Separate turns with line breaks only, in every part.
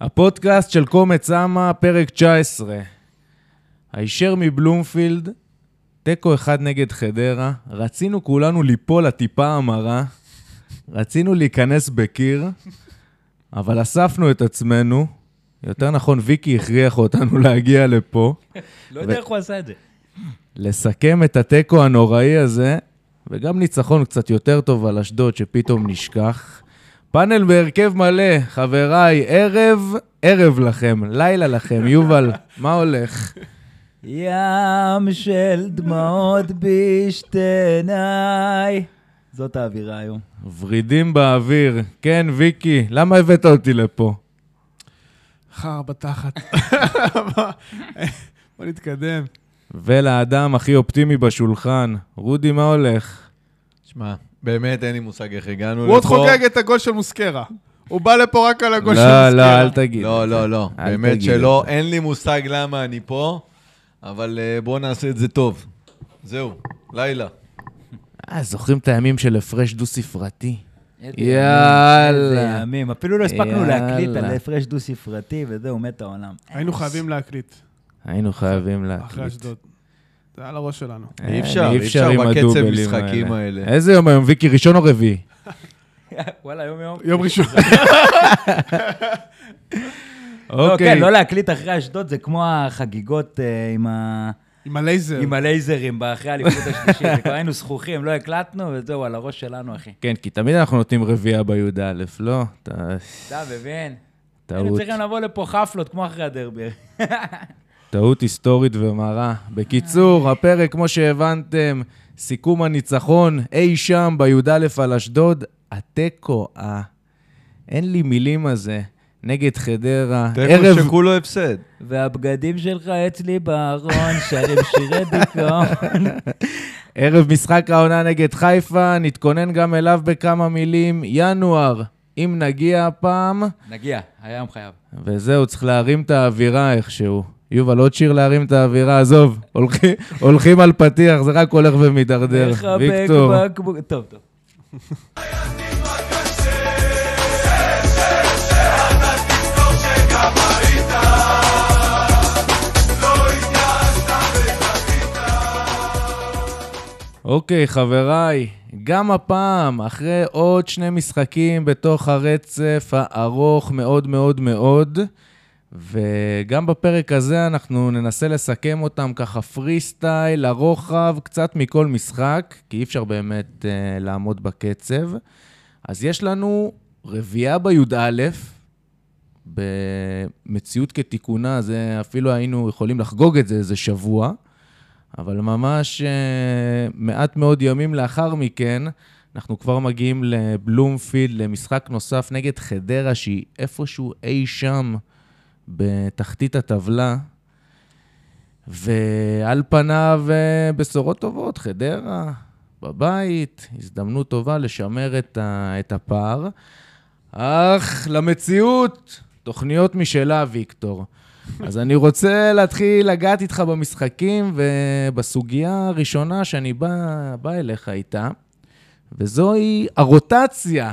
הפודקאסט של קומץ אמה, פרק 19. הישר מבלומפילד, תיקו אחד נגד חדרה, רצינו כולנו ליפול לטיפה המרה, רצינו להיכנס בקיר, אבל אספנו את עצמנו, יותר נכון, ויקי הכריח אותנו להגיע לפה,
לא יודע איך הוא עשה את זה.
לסכם את התיקו הנוראי הזה, וגם ניצחון קצת יותר טוב על אשדוד שפתאום נשכח. פאנל בהרכב מלא, חבריי, ערב, ערב לכם, לילה לכם, יובל, מה הולך?
ים של דמעות בשתיניי. זאת האווירה היום.
ורידים באוויר. כן, ויקי, למה הבאת אותי לפה?
חרא בתחת. בוא נתקדם.
ולאדם הכי אופטימי בשולחן, רודי, מה הולך?
שמע, באמת אין לי מושג איך הגענו לפה.
הוא עוד חוגג את הגול של מוסקרה. הוא בא לפה רק על הגול של
לא,
מוסקרה.
לא, אל תגיד.
לא, לא, לא.
אל
באמת
תגיד
שלא,
את
אין לי מושג למה אני פה, אבל אה, בואו נעשה את זה טוב. זהו, לילה.
אה, זוכרים את הימים של הפרש דו-ספרתי?
איזה
יאללה.
ימים. אפילו לא הספקנו להקליט על
יאללה.
הפרש דו-ספרתי, וזהו, מת העולם.
היינו חייבים להקליט
היינו חייבים
אחרי
להקליט.
אשדוד. זה על הראש שלנו.
אה,
אי אפשר, אי אפשר
עם
בקצב
הדובלים
משחקים האלה.
איזה יום היום, ויקי? ראשון או רביעי?
לא, וואלה, יום יום.
יום ראשון.
לא,
אוקיי.
כן, לא להקליט אחרי אשדוד זה כמו החגיגות אה, עם ה-
עם הלייזר.
עם הלייזרים באחרי האליפות השלישית. זה כבר היינו זכוכים, לא הקלטנו, וזהו, על הראש שלנו, אחי.
כן, כי תמיד אנחנו נותנים רביעייה בי"א, לא? ת-
אתה מבין? היינו
טעות.
צריכים לבוא לפה חפלות, כמו אחרי הדרבי.
טעות היסטורית ומרה.
אה.
בקיצור, הפרק, כמו שהבנתם, סיכום הניצחון אי שם בי"א על אשדוד, התיקו, אה, אין לי מילים על זה, נגד חדרה, אה, ערב...
תיקו שכולו הפסד.
והבגדים שלך אצלי בארון, שרים שירי דיכאון.
ערב משחק העונה נגד חיפה, נתכונן גם אליו בכמה מילים. ינואר, אם נגיע הפעם,
נגיע, היום חייב.
וזהו, צריך להרים את האווירה איכשהו. יובל, עוד שיר להרים את האווירה, עזוב, הולכים, הולכים על פתיח, זה רק הולך ומידרדר. ויקטור.
לחבק בקבוק... טוב, טוב.
אוקיי, חבריי, גם הפעם, אחרי עוד שני משחקים בתוך הרצף הארוך מאוד מאוד מאוד, וגם בפרק הזה אנחנו ננסה לסכם אותם ככה פרי סטייל, לרוחב, קצת מכל משחק, כי אי אפשר באמת אה, לעמוד בקצב. אז יש לנו רביעייה בי"א, במציאות כתיקונה, זה אפילו היינו יכולים לחגוג את זה איזה שבוע. אבל ממש אה, מעט מאוד ימים לאחר מכן, אנחנו כבר מגיעים לבלומפילד, למשחק נוסף נגד חדרה, שהיא איפשהו אי שם בתחתית הטבלה. ועל פניו, אה, בשורות טובות, חדרה, בבית, הזדמנות טובה לשמר את, ה, את הפער. אך למציאות, תוכניות משלה, ויקטור. אז אני רוצה להתחיל לגעת איתך במשחקים ובסוגיה הראשונה שאני בא, בא אליך איתה, וזוהי הרוטציה.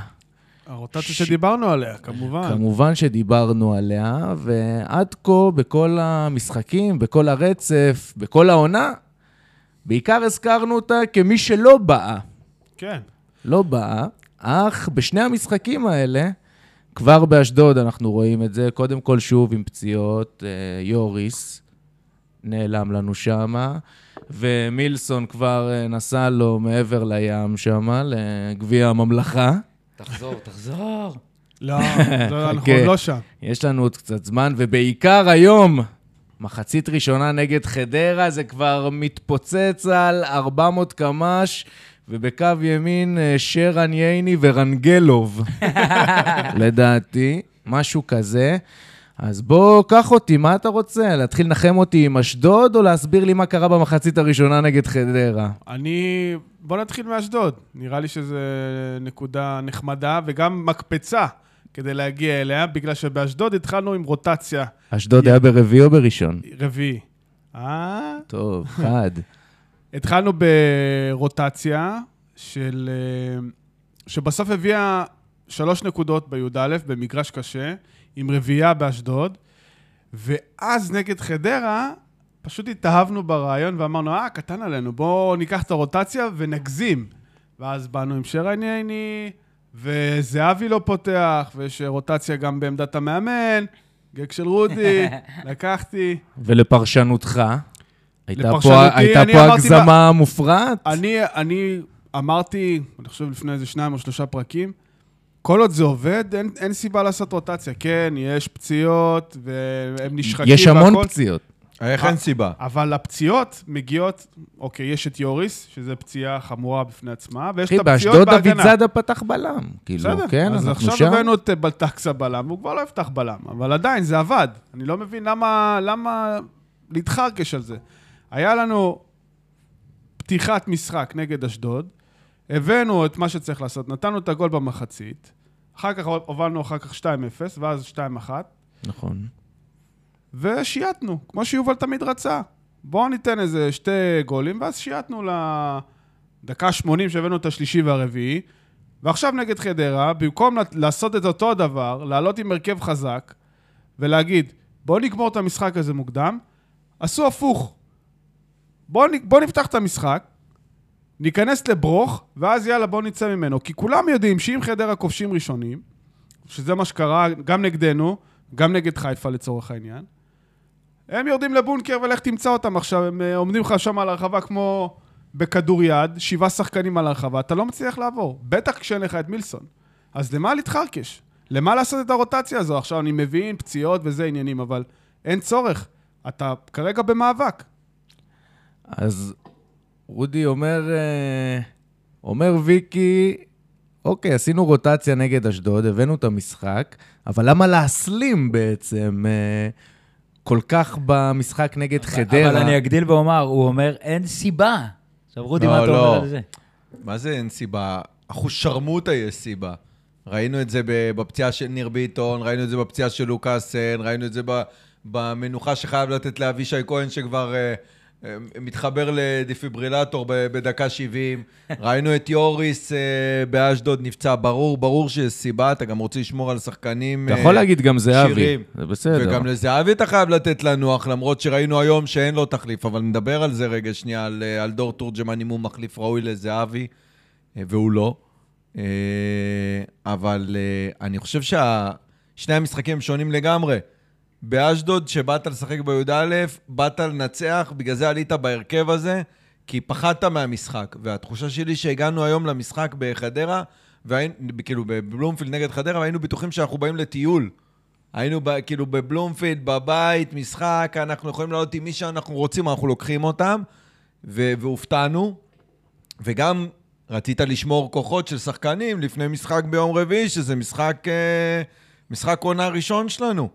הרוטציה
ש-
שדיברנו עליה, כמובן.
כמובן שדיברנו עליה, ועד כה בכל המשחקים, בכל הרצף, בכל העונה, בעיקר הזכרנו אותה כמי שלא באה.
כן.
לא באה, אך בשני המשחקים האלה, כבר באשדוד אנחנו רואים את זה, קודם כל שוב עם פציעות, אה, יוריס נעלם לנו שמה, ומילסון כבר אה, נסע לו מעבר לים שמה, לגביע הממלכה.
תחזור, תחזור.
לא, לא, אנחנו
חכה.
עוד לא שם.
יש לנו עוד קצת זמן, ובעיקר היום, מחצית ראשונה נגד חדרה, זה כבר מתפוצץ על 400 קמ"ש, ובקו ימין אה, שרן ייני ורנגלוב, לדעתי, משהו כזה. אז בוא, קח אותי, מה אתה רוצה? להתחיל לנחם אותי עם אשדוד, או להסביר לי מה קרה במחצית הראשונה נגד חדרה?
אני... בוא נתחיל מאשדוד. נראה לי שזו נקודה נחמדה וגם מקפצה כדי להגיע אליה, בגלל שבאשדוד התחלנו עם רוטציה
אשדוד היה ברביעי או בראשון?
רביעי. אה?
טוב, חד.
התחלנו ברוטציה של... אה, שבסוף הביאה שלוש נקודות בי"א במגרש קשה, עם רביעייה באשדוד, ואז נגד חדרה, פשוט התאהבנו ברעיון ואמרנו, אה, קטן עלינו, בואו ניקח את הרוטציה ונגזים. ואז באנו עם שרן ייני, וזהבי לא פותח, ויש רוטציה גם בעמדת המאמן, גג של רודי, לקחתי.
ולפרשנותך, הייתה פה,
לפרשנותי,
הייתה
אני
פה
אמרתי
הגזמה מופרעת?
אני, אני אמרתי, אני חושב לפני איזה שניים או שלושה פרקים, כל עוד זה עובד, אין, אין סיבה לעשות רוטציה. כן, יש פציעות, והם נשחקים
יש המון
והכל,
פציעות.
איך אין סיבה?
אבל הפציעות מגיעות, אוקיי, יש את יוריס, שזו פציעה חמורה בפני עצמה, ויש
אחי,
את הפציעות
באשדוד
בהגנה.
דוד זאדה פתח בלם. כאילו,
בסדר,
כן,
אז
אנחנו
עכשיו
שם.
הבאנו את אה, בלטקסה בלם, הוא כבר לא יפתח בלם, אבל עדיין, זה עבד. אני לא מבין למה, למה להתחרקש על זה. היה לנו פתיחת משחק נגד אשדוד, הבאנו את מה שצריך לעשות, נתנו את הגול במחצית, אחר כך הובלנו אחר כך 2-0, ואז 2-1,
נכון.
ושייתנו, כמו שיובל תמיד רצה. בואו ניתן איזה שתי גולים, ואז שייתנו לדקה 80 שהבאנו את השלישי והרביעי, ועכשיו נגד חדרה, במקום לת- לעשות את אותו הדבר, לעלות עם הרכב חזק, ולהגיד, בואו נגמור את המשחק הזה מוקדם, עשו הפוך. בואו בוא נפתח את המשחק, ניכנס לברוך, ואז יאללה, בואו נצא ממנו. כי כולם יודעים שאם חדרה כובשים ראשונים, שזה מה שקרה גם נגדנו, גם נגד חיפה לצורך העניין, הם יורדים לבונקר ולך תמצא אותם עכשיו, הם אה, עומדים לך שם על הרחבה כמו בכדור יד, שבעה שחקנים על הרחבה, אתה לא מצליח לעבור. בטח כשאין לך את מילסון. אז למה להתחרקש? למה לעשות את הרוטציה הזו? עכשיו אני מבין, פציעות וזה עניינים, אבל אין צורך. אתה כרגע במאבק.
אז רודי אומר, אה, אומר ויקי, אוקיי, עשינו רוטציה נגד אשדוד, הבאנו את המשחק, אבל למה להסלים בעצם אה, כל כך במשחק נגד חדרה?
אבל אני אגדיל ואומר, הוא אומר, אין סיבה. עכשיו, רודי,
לא,
מה אתה
לא.
אומר על זה?
מה זה אין סיבה? אחושרמוטה יש סיבה. ראינו את זה ב- בפציעה של ניר ביטון, ראינו את זה בפציעה של לוקאסן, ראינו את זה ב- במנוחה שחייב לתת לאבישי כהן שכבר אה, אה, מתחבר לדפיברילטור ב- בדקה 70. ראינו את יוריס אה, באשדוד נפצע. ברור, ברור שיש סיבה, אתה גם רוצה לשמור על שחקנים...
אתה
אה,
יכול להגיד גם זהבי,
שירים.
זה בסדר.
וגם לזהבי אתה חייב לתת לנוח, למרות שראינו היום שאין לו תחליף, אבל נדבר על זה רגע שנייה, על, אה, על דור תורג'מן אם הוא מחליף ראוי לזהבי, אה, והוא לא. אה, אבל אה, אני חושב ששני המשחקים הם שונים לגמרי. באשדוד, שבאת לשחק בי"א, באת לנצח, בגלל זה עלית בהרכב הזה, כי פחדת מהמשחק. והתחושה שלי שהגענו היום למשחק בחדרה, והיינו, כאילו בבלומפילד נגד חדרה, והיינו בטוחים שאנחנו באים לטיול. היינו ב, כאילו בבלומפילד, בבית, משחק, אנחנו יכולים לעלות עם מי שאנחנו רוצים, אנחנו לוקחים אותם, ו- והופתענו. וגם רצית לשמור כוחות של שחקנים לפני משחק ביום רביעי, שזה משחק, אה, משחק עונה ראשון שלנו.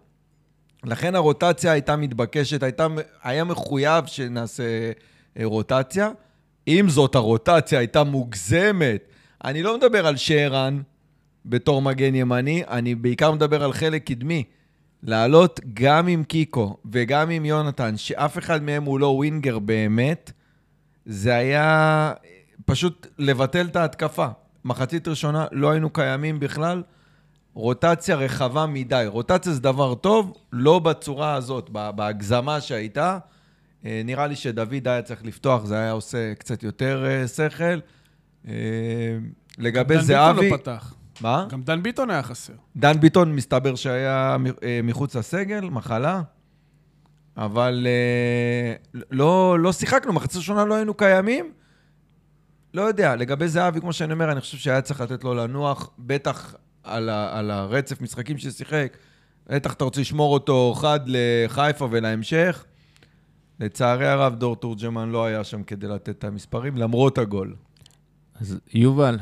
לכן הרוטציה הייתה מתבקשת, הייתה, היה מחויב שנעשה אה, רוטציה. עם זאת, הרוטציה הייתה מוגזמת. אני לא מדבר על שרן בתור מגן ימני, אני בעיקר מדבר על חלק קדמי. לעלות גם עם קיקו וגם עם יונתן, שאף אחד מהם הוא לא ווינגר באמת, זה היה פשוט לבטל את ההתקפה. מחצית ראשונה לא היינו קיימים בכלל. רוטציה רחבה מדי. רוטציה זה דבר טוב, לא בצורה הזאת, בה- בהגזמה שהייתה. אה, נראה לי שדוד היה צריך לפתוח, זה היה עושה קצת יותר אה, שכל. אה, לגבי
דן
זהבי... אה?
ביטון לא פתח.
מה?
גם דן ביטון היה חסר.
דן ביטון מסתבר שהיה מ- אה, מחוץ לסגל, מחלה, אבל אה, לא, לא שיחקנו, מחצית ראשונה לא היינו קיימים. לא יודע, לגבי זהבי, כמו שאני אומר, אני חושב שהיה צריך לתת לו לנוח, בטח על, ה, על הרצף משחקים ששיחק, בטח אתה רוצה לשמור אותו חד לחיפה ולהמשך. לצערי הרב, דור תורג'מן לא היה שם כדי לתת את המספרים, למרות הגול.
אז יובל,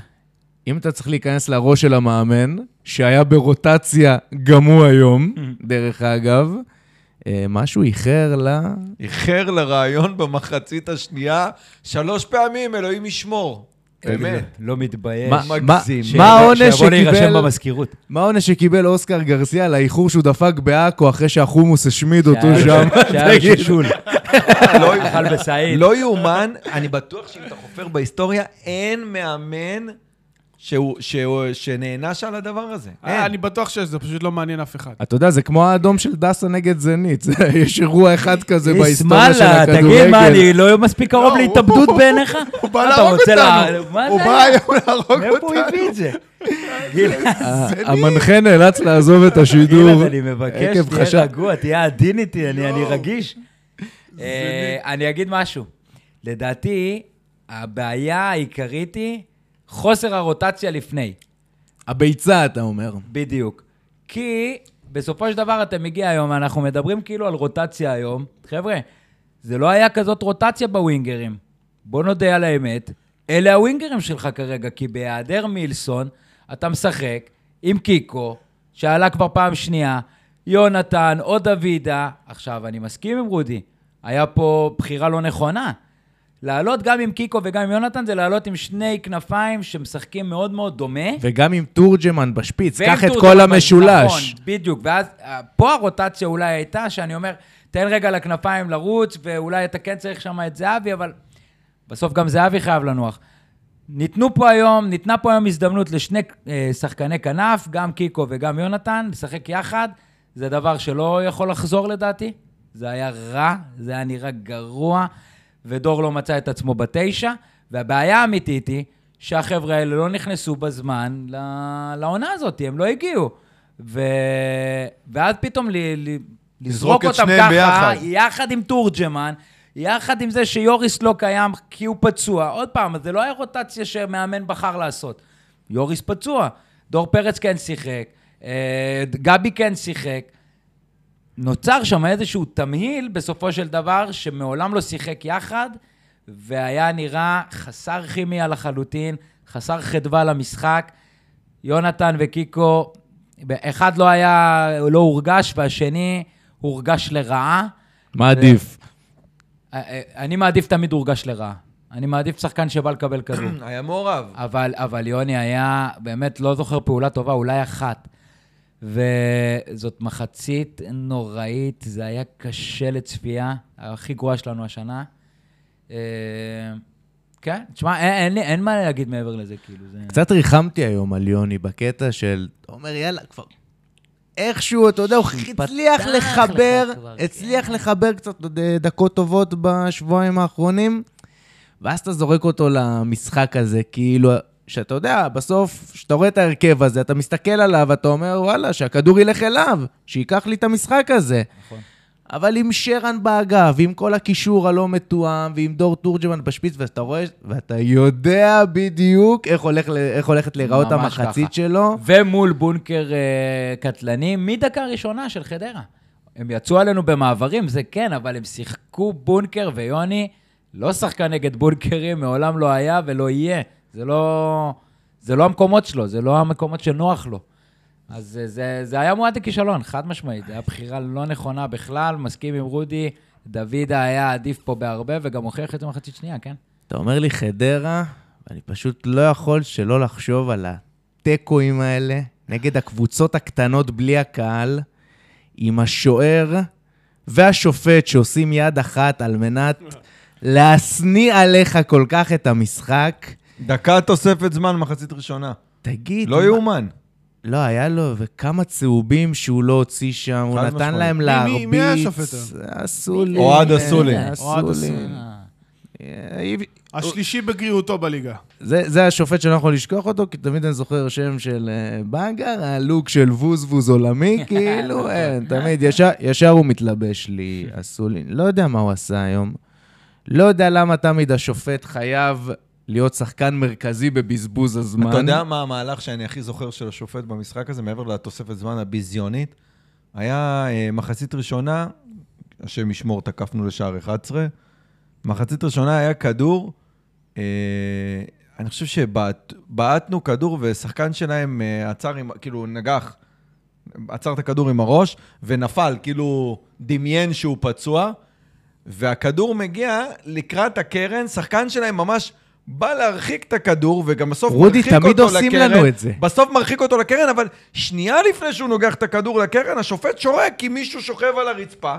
אם אתה צריך להיכנס לראש של המאמן, שהיה ברוטציה גם הוא היום, דרך אגב, אה, משהו איחר ל...
איחר לרעיון במחצית השנייה שלוש פעמים, אלוהים ישמור. באמת.
לא מתבייש.
מה-
מגזים.
ש-
אה,
מה העונש
שיבוא להירשם
שקיבל...
במזכירות.
מה העונש שקיבל אוסקר גרסיה על האיחור שהוא דפק בעכו אחרי שהחומוס השמיד אותו שם?
שהיה
תגיד.
ששול.
לא
אכל בסעיד.
לא יאומן, אני בטוח שאם אתה חופר בהיסטוריה, אין מאמן שהוא, שהוא, שנענש על הדבר הזה.
אה,
אין. אה,
אני בטוח שזה פשוט לא מעניין אף אחד.
אתה יודע, זה כמו האדום של דסה נגד זנית. זה- יש אירוע אחד כזה
איס
בהיסטוריה של
מאללה,
הכדורגל.
תגיד, מה, אני לא מספיק קרוב
לא, הוא-
להתאבדות בעיניך?
הוא בא
אתה
להרוג
רוצה
אותנו.
לה- מה
הוא
זה?
בא היום להרוג
מאיפה הוא
אותנו.
הביא את זה? גיל,
ה- המנחה נאלץ לעזוב את השידור.
אילן, אני מבקש,
עקב חשד.
תהיה רגוע, תהיה עדין איתי, אני אני רגיש. אה, אני אגיד משהו. לדעתי, הבעיה העיקרית היא חוסר הרוטציה לפני.
הביצה, אתה אומר.
בדיוק. כי בסופו של דבר אתם מגיע היום, אנחנו מדברים כאילו על רוטציה היום. חבר'ה, זה לא היה כזאת רוטציה בווינגרים. בוא נודה על האמת, אלה הווינגרים שלך כרגע, כי בהיעדר מילסון, אתה משחק עם קיקו, שעלה כבר פעם שנייה, יונתן או דוידה. עכשיו, אני מסכים עם רודי, היה פה בחירה לא נכונה. לעלות גם עם קיקו וגם עם יונתן זה לעלות עם שני כנפיים שמשחקים מאוד מאוד דומה.
וגם עם תורג'מן בשפיץ,
ואין
קח את
טור
כל
דרבן,
המשולש.
נכון, בדיוק. ואז אה, פה הרוטציה אולי הייתה, שאני אומר, תן רגע לכנפיים לרוץ, ואולי אתה כן צריך שם את זהבי, אבל בסוף גם זהבי חייב לנוח. ניתנו פה היום, ניתנה פה היום הזדמנות לשני אה, שחקני כנף, גם קיקו וגם יונתן, לשחק יחד. זה דבר שלא יכול לחזור לדעתי. זה היה רע, זה היה נראה גרוע, ודור לא מצא את עצמו בתשע. והבעיה האמיתית היא שהחבר'ה האלה לא נכנסו בזמן ל- לעונה הזאת, הם לא הגיעו. ו... ואז פתאום ל... ל...
לזרוק
לזרוק
את
אותם
שניהם
ככה,
ביחד.
יחד עם תורג'מן, יחד עם זה שיוריס לא קיים כי הוא פצוע. עוד פעם, זה לא היה רוטציה שמאמן בחר לעשות. יוריס פצוע. דור פרץ כן שיחק, אה, גבי כן שיחק. נוצר שם איזשהו תמהיל בסופו של דבר שמעולם לא שיחק יחד, והיה נראה חסר כימיה לחלוטין, חסר חדווה למשחק. יונתן וקיקו, אחד לא היה, לא הורגש, והשני הורגש לרעה.
מה עדיף?
אה, אני מעדיף תמיד הורגש לרעה. אני מעדיף שחקן שבא לקבל כדור.
היה מעורב.
אבל, אבל יוני היה, באמת לא זוכר פעולה טובה, אולי אחת. וזאת מחצית נוראית, זה היה קשה לצפייה, הכי גרועה שלנו השנה. אה, כן, תשמע, אין, אין, לי- אין מה להגיד מעבר לזה, כאילו, זה...
קצת ריחמתי היום על יוני בקטע של, אתה אומר, יאללה, כבר... איכשהו, אתה יודע, הוא הצליח
לך
לחבר,
כבר, כן.
הצליח לחבר קצת עוד, אה, דקות טובות בשבועיים האחרונים, ואז אתה זורק אותו למשחק הזה, כאילו, שאתה יודע, בסוף, כשאתה רואה את ההרכב הזה, אתה מסתכל עליו, אתה אומר, וואלה, שהכדור ילך אליו, שייקח לי את המשחק הזה.
נכון.
אבל עם שרן באגף, ועם כל הקישור הלא מתואם, ועם דור תורג'מן בשפיץ, ואתה רואה, ואתה יודע בדיוק איך, הולך, ל- איך הולכת להיראות
ממש
המחצית
ככה.
שלו.
ומול בונקר אה, קטלני מדקה ראשונה של חדרה. הם יצאו עלינו במעברים, זה כן, אבל הם שיחקו בונקר, ויוני לא שחקן נגד בונקרים, מעולם לא היה ולא יהיה. זה לא, זה לא המקומות שלו, זה לא המקומות שנוח לו. אז זה, זה, זה היה מועד לכישלון, חד משמעית. זו הייתה בחירה לא נכונה בכלל, מסכים עם רודי, דוידה היה עדיף פה בהרבה, וגם הוכיח את זה מחצית שנייה, כן?
אתה אומר לי חדרה, ואני פשוט לא יכול שלא לחשוב על התיקואים האלה, נגד הקבוצות הקטנות בלי הקהל, עם השוער והשופט שעושים יד אחת על מנת להשניא עליך כל כך את המשחק.
דקה תוספת זמן, מחצית ראשונה.
תגיד,
לא
מה-
יאומן.
לא, היה לו וכמה צהובים שהוא לא הוציא שם, הוא
חד
נתן
משמעית.
להם
מי-
להרביץ.
מי- מי היה השופט
אסולין.
אוהד אסולין.
אוהד
אסולין.
אסולין.
אה,
השלישי בגריעותו בליגה.
זה, זה השופט שאני לא יכול לשכוח אותו, כי תמיד אני זוכר שם של אה, בנגר, הלוק של ווזבוז עולמי, כאילו, אין, תמיד ישר, ישר הוא מתלבש לי, אסולין. לא יודע מה הוא עשה היום. לא יודע למה תמיד השופט חייב להיות שחקן מרכזי בבזבוז הזמן.
אתה יודע מה המהלך שאני הכי זוכר של השופט במשחק הזה, מעבר לתוספת זמן הביזיונית? היה אה, מחצית ראשונה, השם ישמור, תקפנו לשער 11. מחצית ראשונה היה כדור, אה, אני חושב שבעטנו כדור ושחקן שלהם אה, עצר עם, כאילו, נגח, עצר את הכדור עם הראש ונפל, כאילו, דמיין שהוא פצוע. והכדור מגיע לקראת הקרן, שחקן שלהם ממש בא להרחיק את הכדור, וגם בסוף
רודי,
מרחיק
תמיד
אותו
עושים
לקרן.
לנו את זה.
בסוף מרחיק אותו לקרן, אבל שנייה לפני שהוא נוגח את הכדור לקרן, השופט שורק כי מישהו שוכב על הרצפה,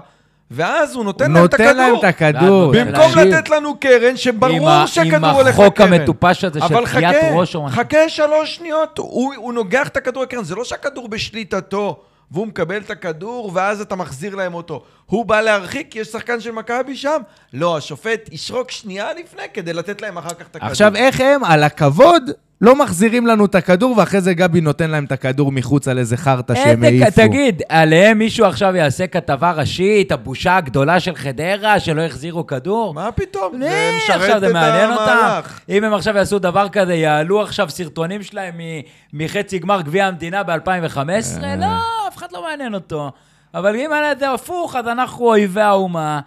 ואז הוא נותן להם את הכדור.
נותן להם את הכדור.
במקום
תקשיב.
לתת לנו קרן,
עם
שברור
ה-
שהכדור
עם
הולך לקרן.
החוק המטופש הזה של
אבל
דחיית
חכה,
ראש או משהו.
חכה שלוש שניות, הוא, הוא נוגח את הכדור לקרן, זה לא שהכדור בשליטתו, והוא מקבל את הכדור, ואז אתה מחזיר להם אותו. הוא בא להרחיק, יש שחקן של מכבי שם? לא, השופט ישרוק שנייה לפני כדי לתת להם אחר כך את הכדור.
עכשיו, איך הם, על הכבוד, לא מחזירים לנו את הכדור, ואחרי זה גבי נותן להם את הכדור מחוץ על איזה חרטא שהם
איזה-
העיפו.
אה, תגיד, עליהם מישהו עכשיו יעשה כתבה ראשית, הבושה הגדולה של חדרה, שלא החזירו כדור?
מה פתאום?
נו,
זה
עכשיו
משרת
זה
את
מעניין אותם.
המהלך.
אם הם עכשיו יעשו דבר כזה, יעלו עכשיו סרטונים שלהם מ- מחצי גמר גביע המדינה ב-2015,
אה.
לא, אף אחד לא מעניין אותו. אבל אם היה זה הפוך, אז אנחנו אויבי האומה.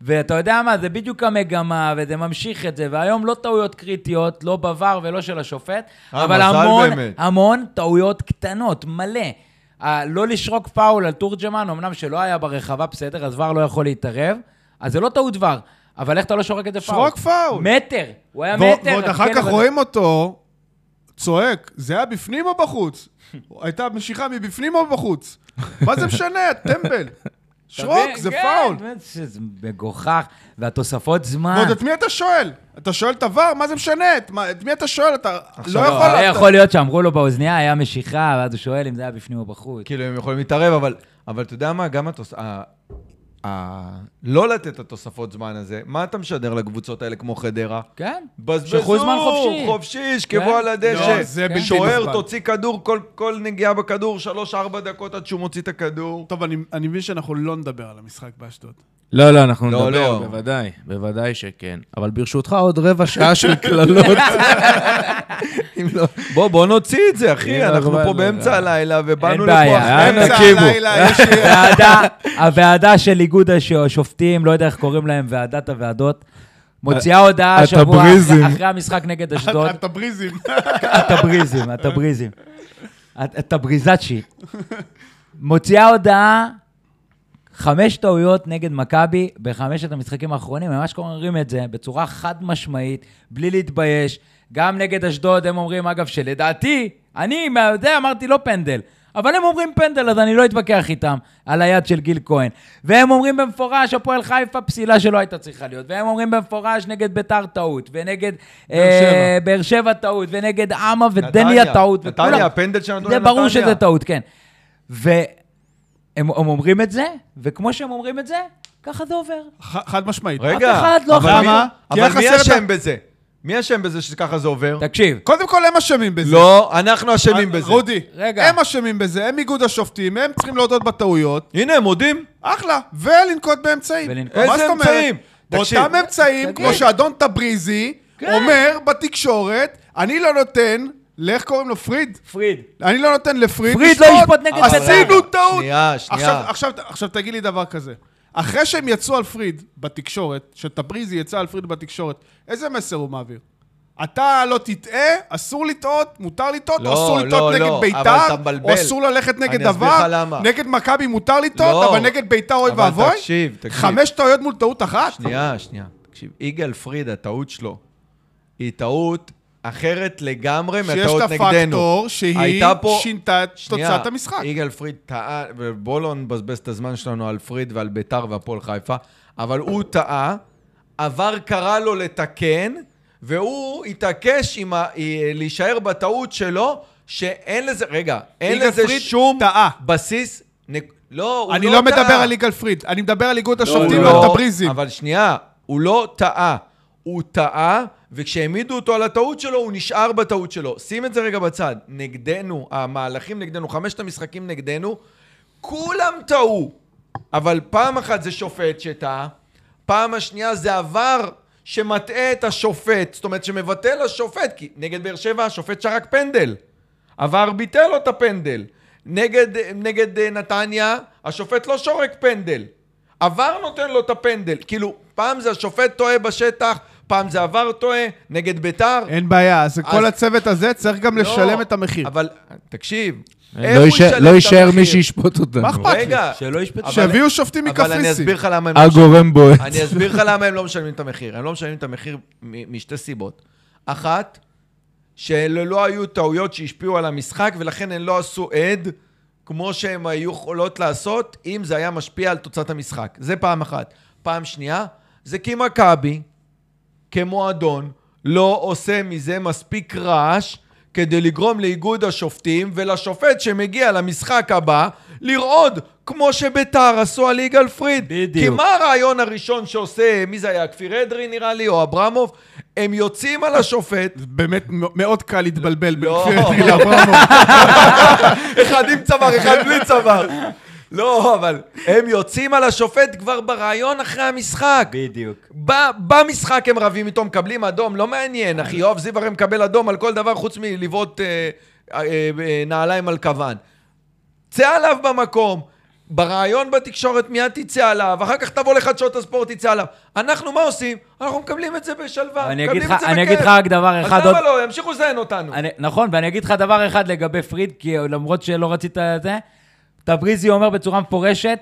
ואתה יודע מה, זה בדיוק המגמה, וזה ממשיך את זה. והיום לא טעויות קריטיות, לא בVAR ולא של השופט,
אה,
אבל
מזל
המון,
באמת.
המון טעויות קטנות, מלא. ה- לא לשרוק פאול על תורג'מן, אמנם שלא היה ברחבה, בסדר, אז ור לא יכול להתערב, אז זה לא טעות ור, אבל איך אתה לא שורק את זה פאול?
שרוק פאול.
מטר, הוא היה
ועוד-
מטר.
ועוד
רק
אחר
כן,
כך
אבל-
רואים אותו צועק, זה היה בפנים או בחוץ? הייתה משיכה מבפנים או בחוץ? מה זה משנה, טמבל?
אתה
שרוק,
מבין?
זה
כן,
פאול.
זה זה מגוחך, והתוספות זמן.
ועוד את מי אתה שואל? אתה שואל את הוואר? מה זה משנה? את מה- את מי אתה שואל? אתה לא
לא, הרי
יכול...
יכול להיות שאמרו לו באוזנייה, היה משיכה, ואז הוא שואל אם זה היה בפנים או בחוץ.
כן.
כאילו, הם יכולים להתערב, אבל, אבל אתה יודע מה, גם התוס... ה... ה... לא לתת את התוספות זמן הזה, מה אתה משדר לקבוצות האלה כמו חדרה?
כן.
בזבזו,
שחרור זמן חופשי.
חופשי, ישכבו
כן.
על הדשא.
לא, זה בלתי
שוער,
נסבל.
תוציא כדור, כל, כל נגיעה בכדור, שלוש-ארבע דקות עד שהוא מוציא את הכדור.
אה, טוב, אני אני מבין שאנחנו לא נדבר על המשחק באשדוד.
לא, לא, אנחנו
לא,
נדבר,
לא.
בוודאי, בוודאי שכן. אבל ברשותך, עוד רבע שעה של קללות. אם לא-
בוא, בוא נוציא את זה, אחי,
אין
אנחנו
הרבה
פה
על זה.
באמצע הלילה, ובאנו
אין
לפה
בעיה,
אחרי-
אה,
באמצע
תקשיבו.
הלילה יש לי...
הוועדה- הוועדה של איגוד הש- השופטים, לא יודע איך קוראים להם, ועדת הוועדות, מוציאה הודעה השבוע
הטבריזם.
אחרי המשחק נגד אשדוד.
אתה בריזים.
הטבריזם, הטבריזם. הט- הטבריזצ'י. מוציאה הודעה, חמש טעויות נגד מכבי בחמשת המשחקים האחרונים, הם ממש קוראים את זה בצורה חד משמעית, בלי להתבייש. גם נגד אשדוד הם אומרים, אגב, שלדעתי, אני, מה- זה אמרתי לא פנדל. אבל הם אומרים פנדל, אז אני לא אתווכח איתם על היד של גיל כהן. והם אומרים במפורש, הפועל חיפה פסילה שלא הייתה צריכה להיות. והם אומרים במפורש נגד ביתר טעות, ונגד אה, באר שבע טעות, ונגד עמה ודניה
נתניה,
טעות. וכולם.
נתניה, הפנדל שנתנו
זה
לנתניה.
ברור שזה טעות, כן. והם הם אומרים את זה, וכמו שהם אומרים את זה, ככה זה עובר.
ח- חד משמעית.
רגע,
אף אחד לא
אבל
חשב.
מי-
למה?
אבל
כי היה
מי
חסר את ה-
אשם בזה? מי אשם בזה שככה זה עובר?
תקשיב,
קודם כל הם אשמים בזה. אה,
לא, אנחנו אשמים בזה.
רודי,
רגע.
הם אשמים בזה, הם איגוד השופטים, הם צריכים להודות בטעויות.
הנה, הם מודים.
אחלה, ולנקוט באמצעים.
ולנקוט.
מה
איזה
זאת אומרת?
אמצעים? תקשיב.
באותם אמצעים, כמו שאדון טבריזי אומר בתקשורת, אני לא נותן, לאיך קוראים לו? פריד?
פריד.
אני לא נותן לפריד
פריד לא ישפוט נגד
עשינו
בית"ר.
טעות.
שנייה, שנייה.
עכשיו- עכשיו- עכשיו תגיד לי דבר כזה. אחרי שהם יצאו על פריד בתקשורת, שטבריזי יצא על פריד בתקשורת, איזה מסר הוא מעביר? אתה לא תטעה, אסור לטעות, מותר לטעות,
לא,
או אסור
לא,
לטעות נגד
לא, אבל
ביתר,
אתה מבלבל.
או אסור ללכת נגד
אני אסביר לך
דבר,
למה.
נגד מכבי מותר לטעות,
לא.
אבל נגד ביתר אוי
אבל
ואבוי?
תקשיב, תקשיב.
חמש טעויות מול טעות אחת?
שנייה, שנייה. תקשיב, יגאל פריד, הטעות שלו היא טעות אחרת לגמרי מהטעות
שיש
נגדנו.
לה פקטור שהיא
הייתה פה-
שינתה את
שנייה,
תוצאת המשחק.
יגאל פריד טעה, ובואו לא נבזבז את הזמן שלנו על פריד ועל ביתר והפועל חיפה, אבל הוא טעה, עבר קרא לו לתקן, והוא התעקש עם ה... אה, להישאר בטעות שלו, שאין לזה, רגע, אין
יגאל
לזה
פריד
שום
טעה.
בסיס. נק... לא, הוא לא
אני לא
טעה.
מדבר על יגאל פריד, אני מדבר על איגוד השופטים
הוא
ועל
לא-
טבריזי.
אבל שנייה, הוא לא טעה. הוא טעה, וכשהעמידו אותו על הטעות שלו, הוא נשאר בטעות שלו. שים את זה רגע בצד. נגדנו, המהלכים נגדנו, חמשת המשחקים נגדנו, כולם טעו. אבל פעם אחת זה שופט שטעה, פעם השנייה זה עבר שמטעה את השופט, זאת אומרת שמבטל השופט, כי נגד באר שבע השופט שרק פנדל. עבר ביטל לו את הפנדל. נגד, נגד אה, נתניה, השופט לא שורק פנדל. עבר נותן לו את הפנדל. כאילו, פעם זה השופט טועה בשטח, פעם זה עבר טועה, נגד ביתר.
אין בעיה, אז כל
אז-
הצוות הזה צריך גם
לא,
לשלם את המחיר.
אבל, תקשיב,
לא
איך הוא
יישאר-
ישלם
לא
את
יישאר
המחיר?
מי שישפוט אותנו.
מה אכפת לי?
רגע,
שלא ישפטו.
אבל-
שיביאו שופטים
אבל אני
מקפריסין.
אסביר לך למה הם לא משלמים.
הגורם בועט.
אני אסביר לך למה הם לא משלמים את המחיר. הם לא משלמים את המחיר מ- משתי סיבות. אחת, שלא היו טעויות שהשפיעו על המשחק, ולכן הן לא עשו עד, כמו שהן היו יכולות לעשות אם זה היה משפיע על תוצאת המשחק. זה פעם אחת. פעם שנייה, זה כי מכבי, כמועדון, לא עושה מזה מספיק רעש כדי לגרום לאיגוד השופטים ולשופט שמגיע למשחק הבא לרעוד, כמו שביתר עשו על יגאל פריד.
בדיוק.
כי מה הרעיון הראשון שעושה, מי זה היה, כפיר אדרי נראה לי, או אברמוב? הם יוצאים על השופט,
זה באמת מ- מאוד קל להתבלבל בין
לא.
כפיר אדרי לאברמוב.
אחד עם צוואר, אחד בלי צוואר. לא, אבל הם יוצאים על השופט כבר ברעיון אחרי המשחק.
בדיוק.
ב- במשחק הם רבים איתו, מקבלים אדום, לא מעניין,
אה.
אחי. יואב זיו הרי מקבל אדום על כל דבר חוץ מלבעוט אה, אה, אה, נעליים על כוון. צא עליו במקום. ברעיון בתקשורת מיד תצא עליו, אחר כך תבוא לחדשות הספורט, תצא עליו. אנחנו מה עושים? אנחנו מקבלים את זה בשלווה,
אני
מקבלים
אגיד
את
לך,
זה בכיף.
אני אגיד לך רק דבר אחד
אז
עוד...
למה לא? ימשיכו לזיין אותנו.
אני, נכון, ואני אגיד לך דבר אחד לגבי פריד, כי למרות שלא רצית את זה, טבריזי אומר בצורה מפורשת,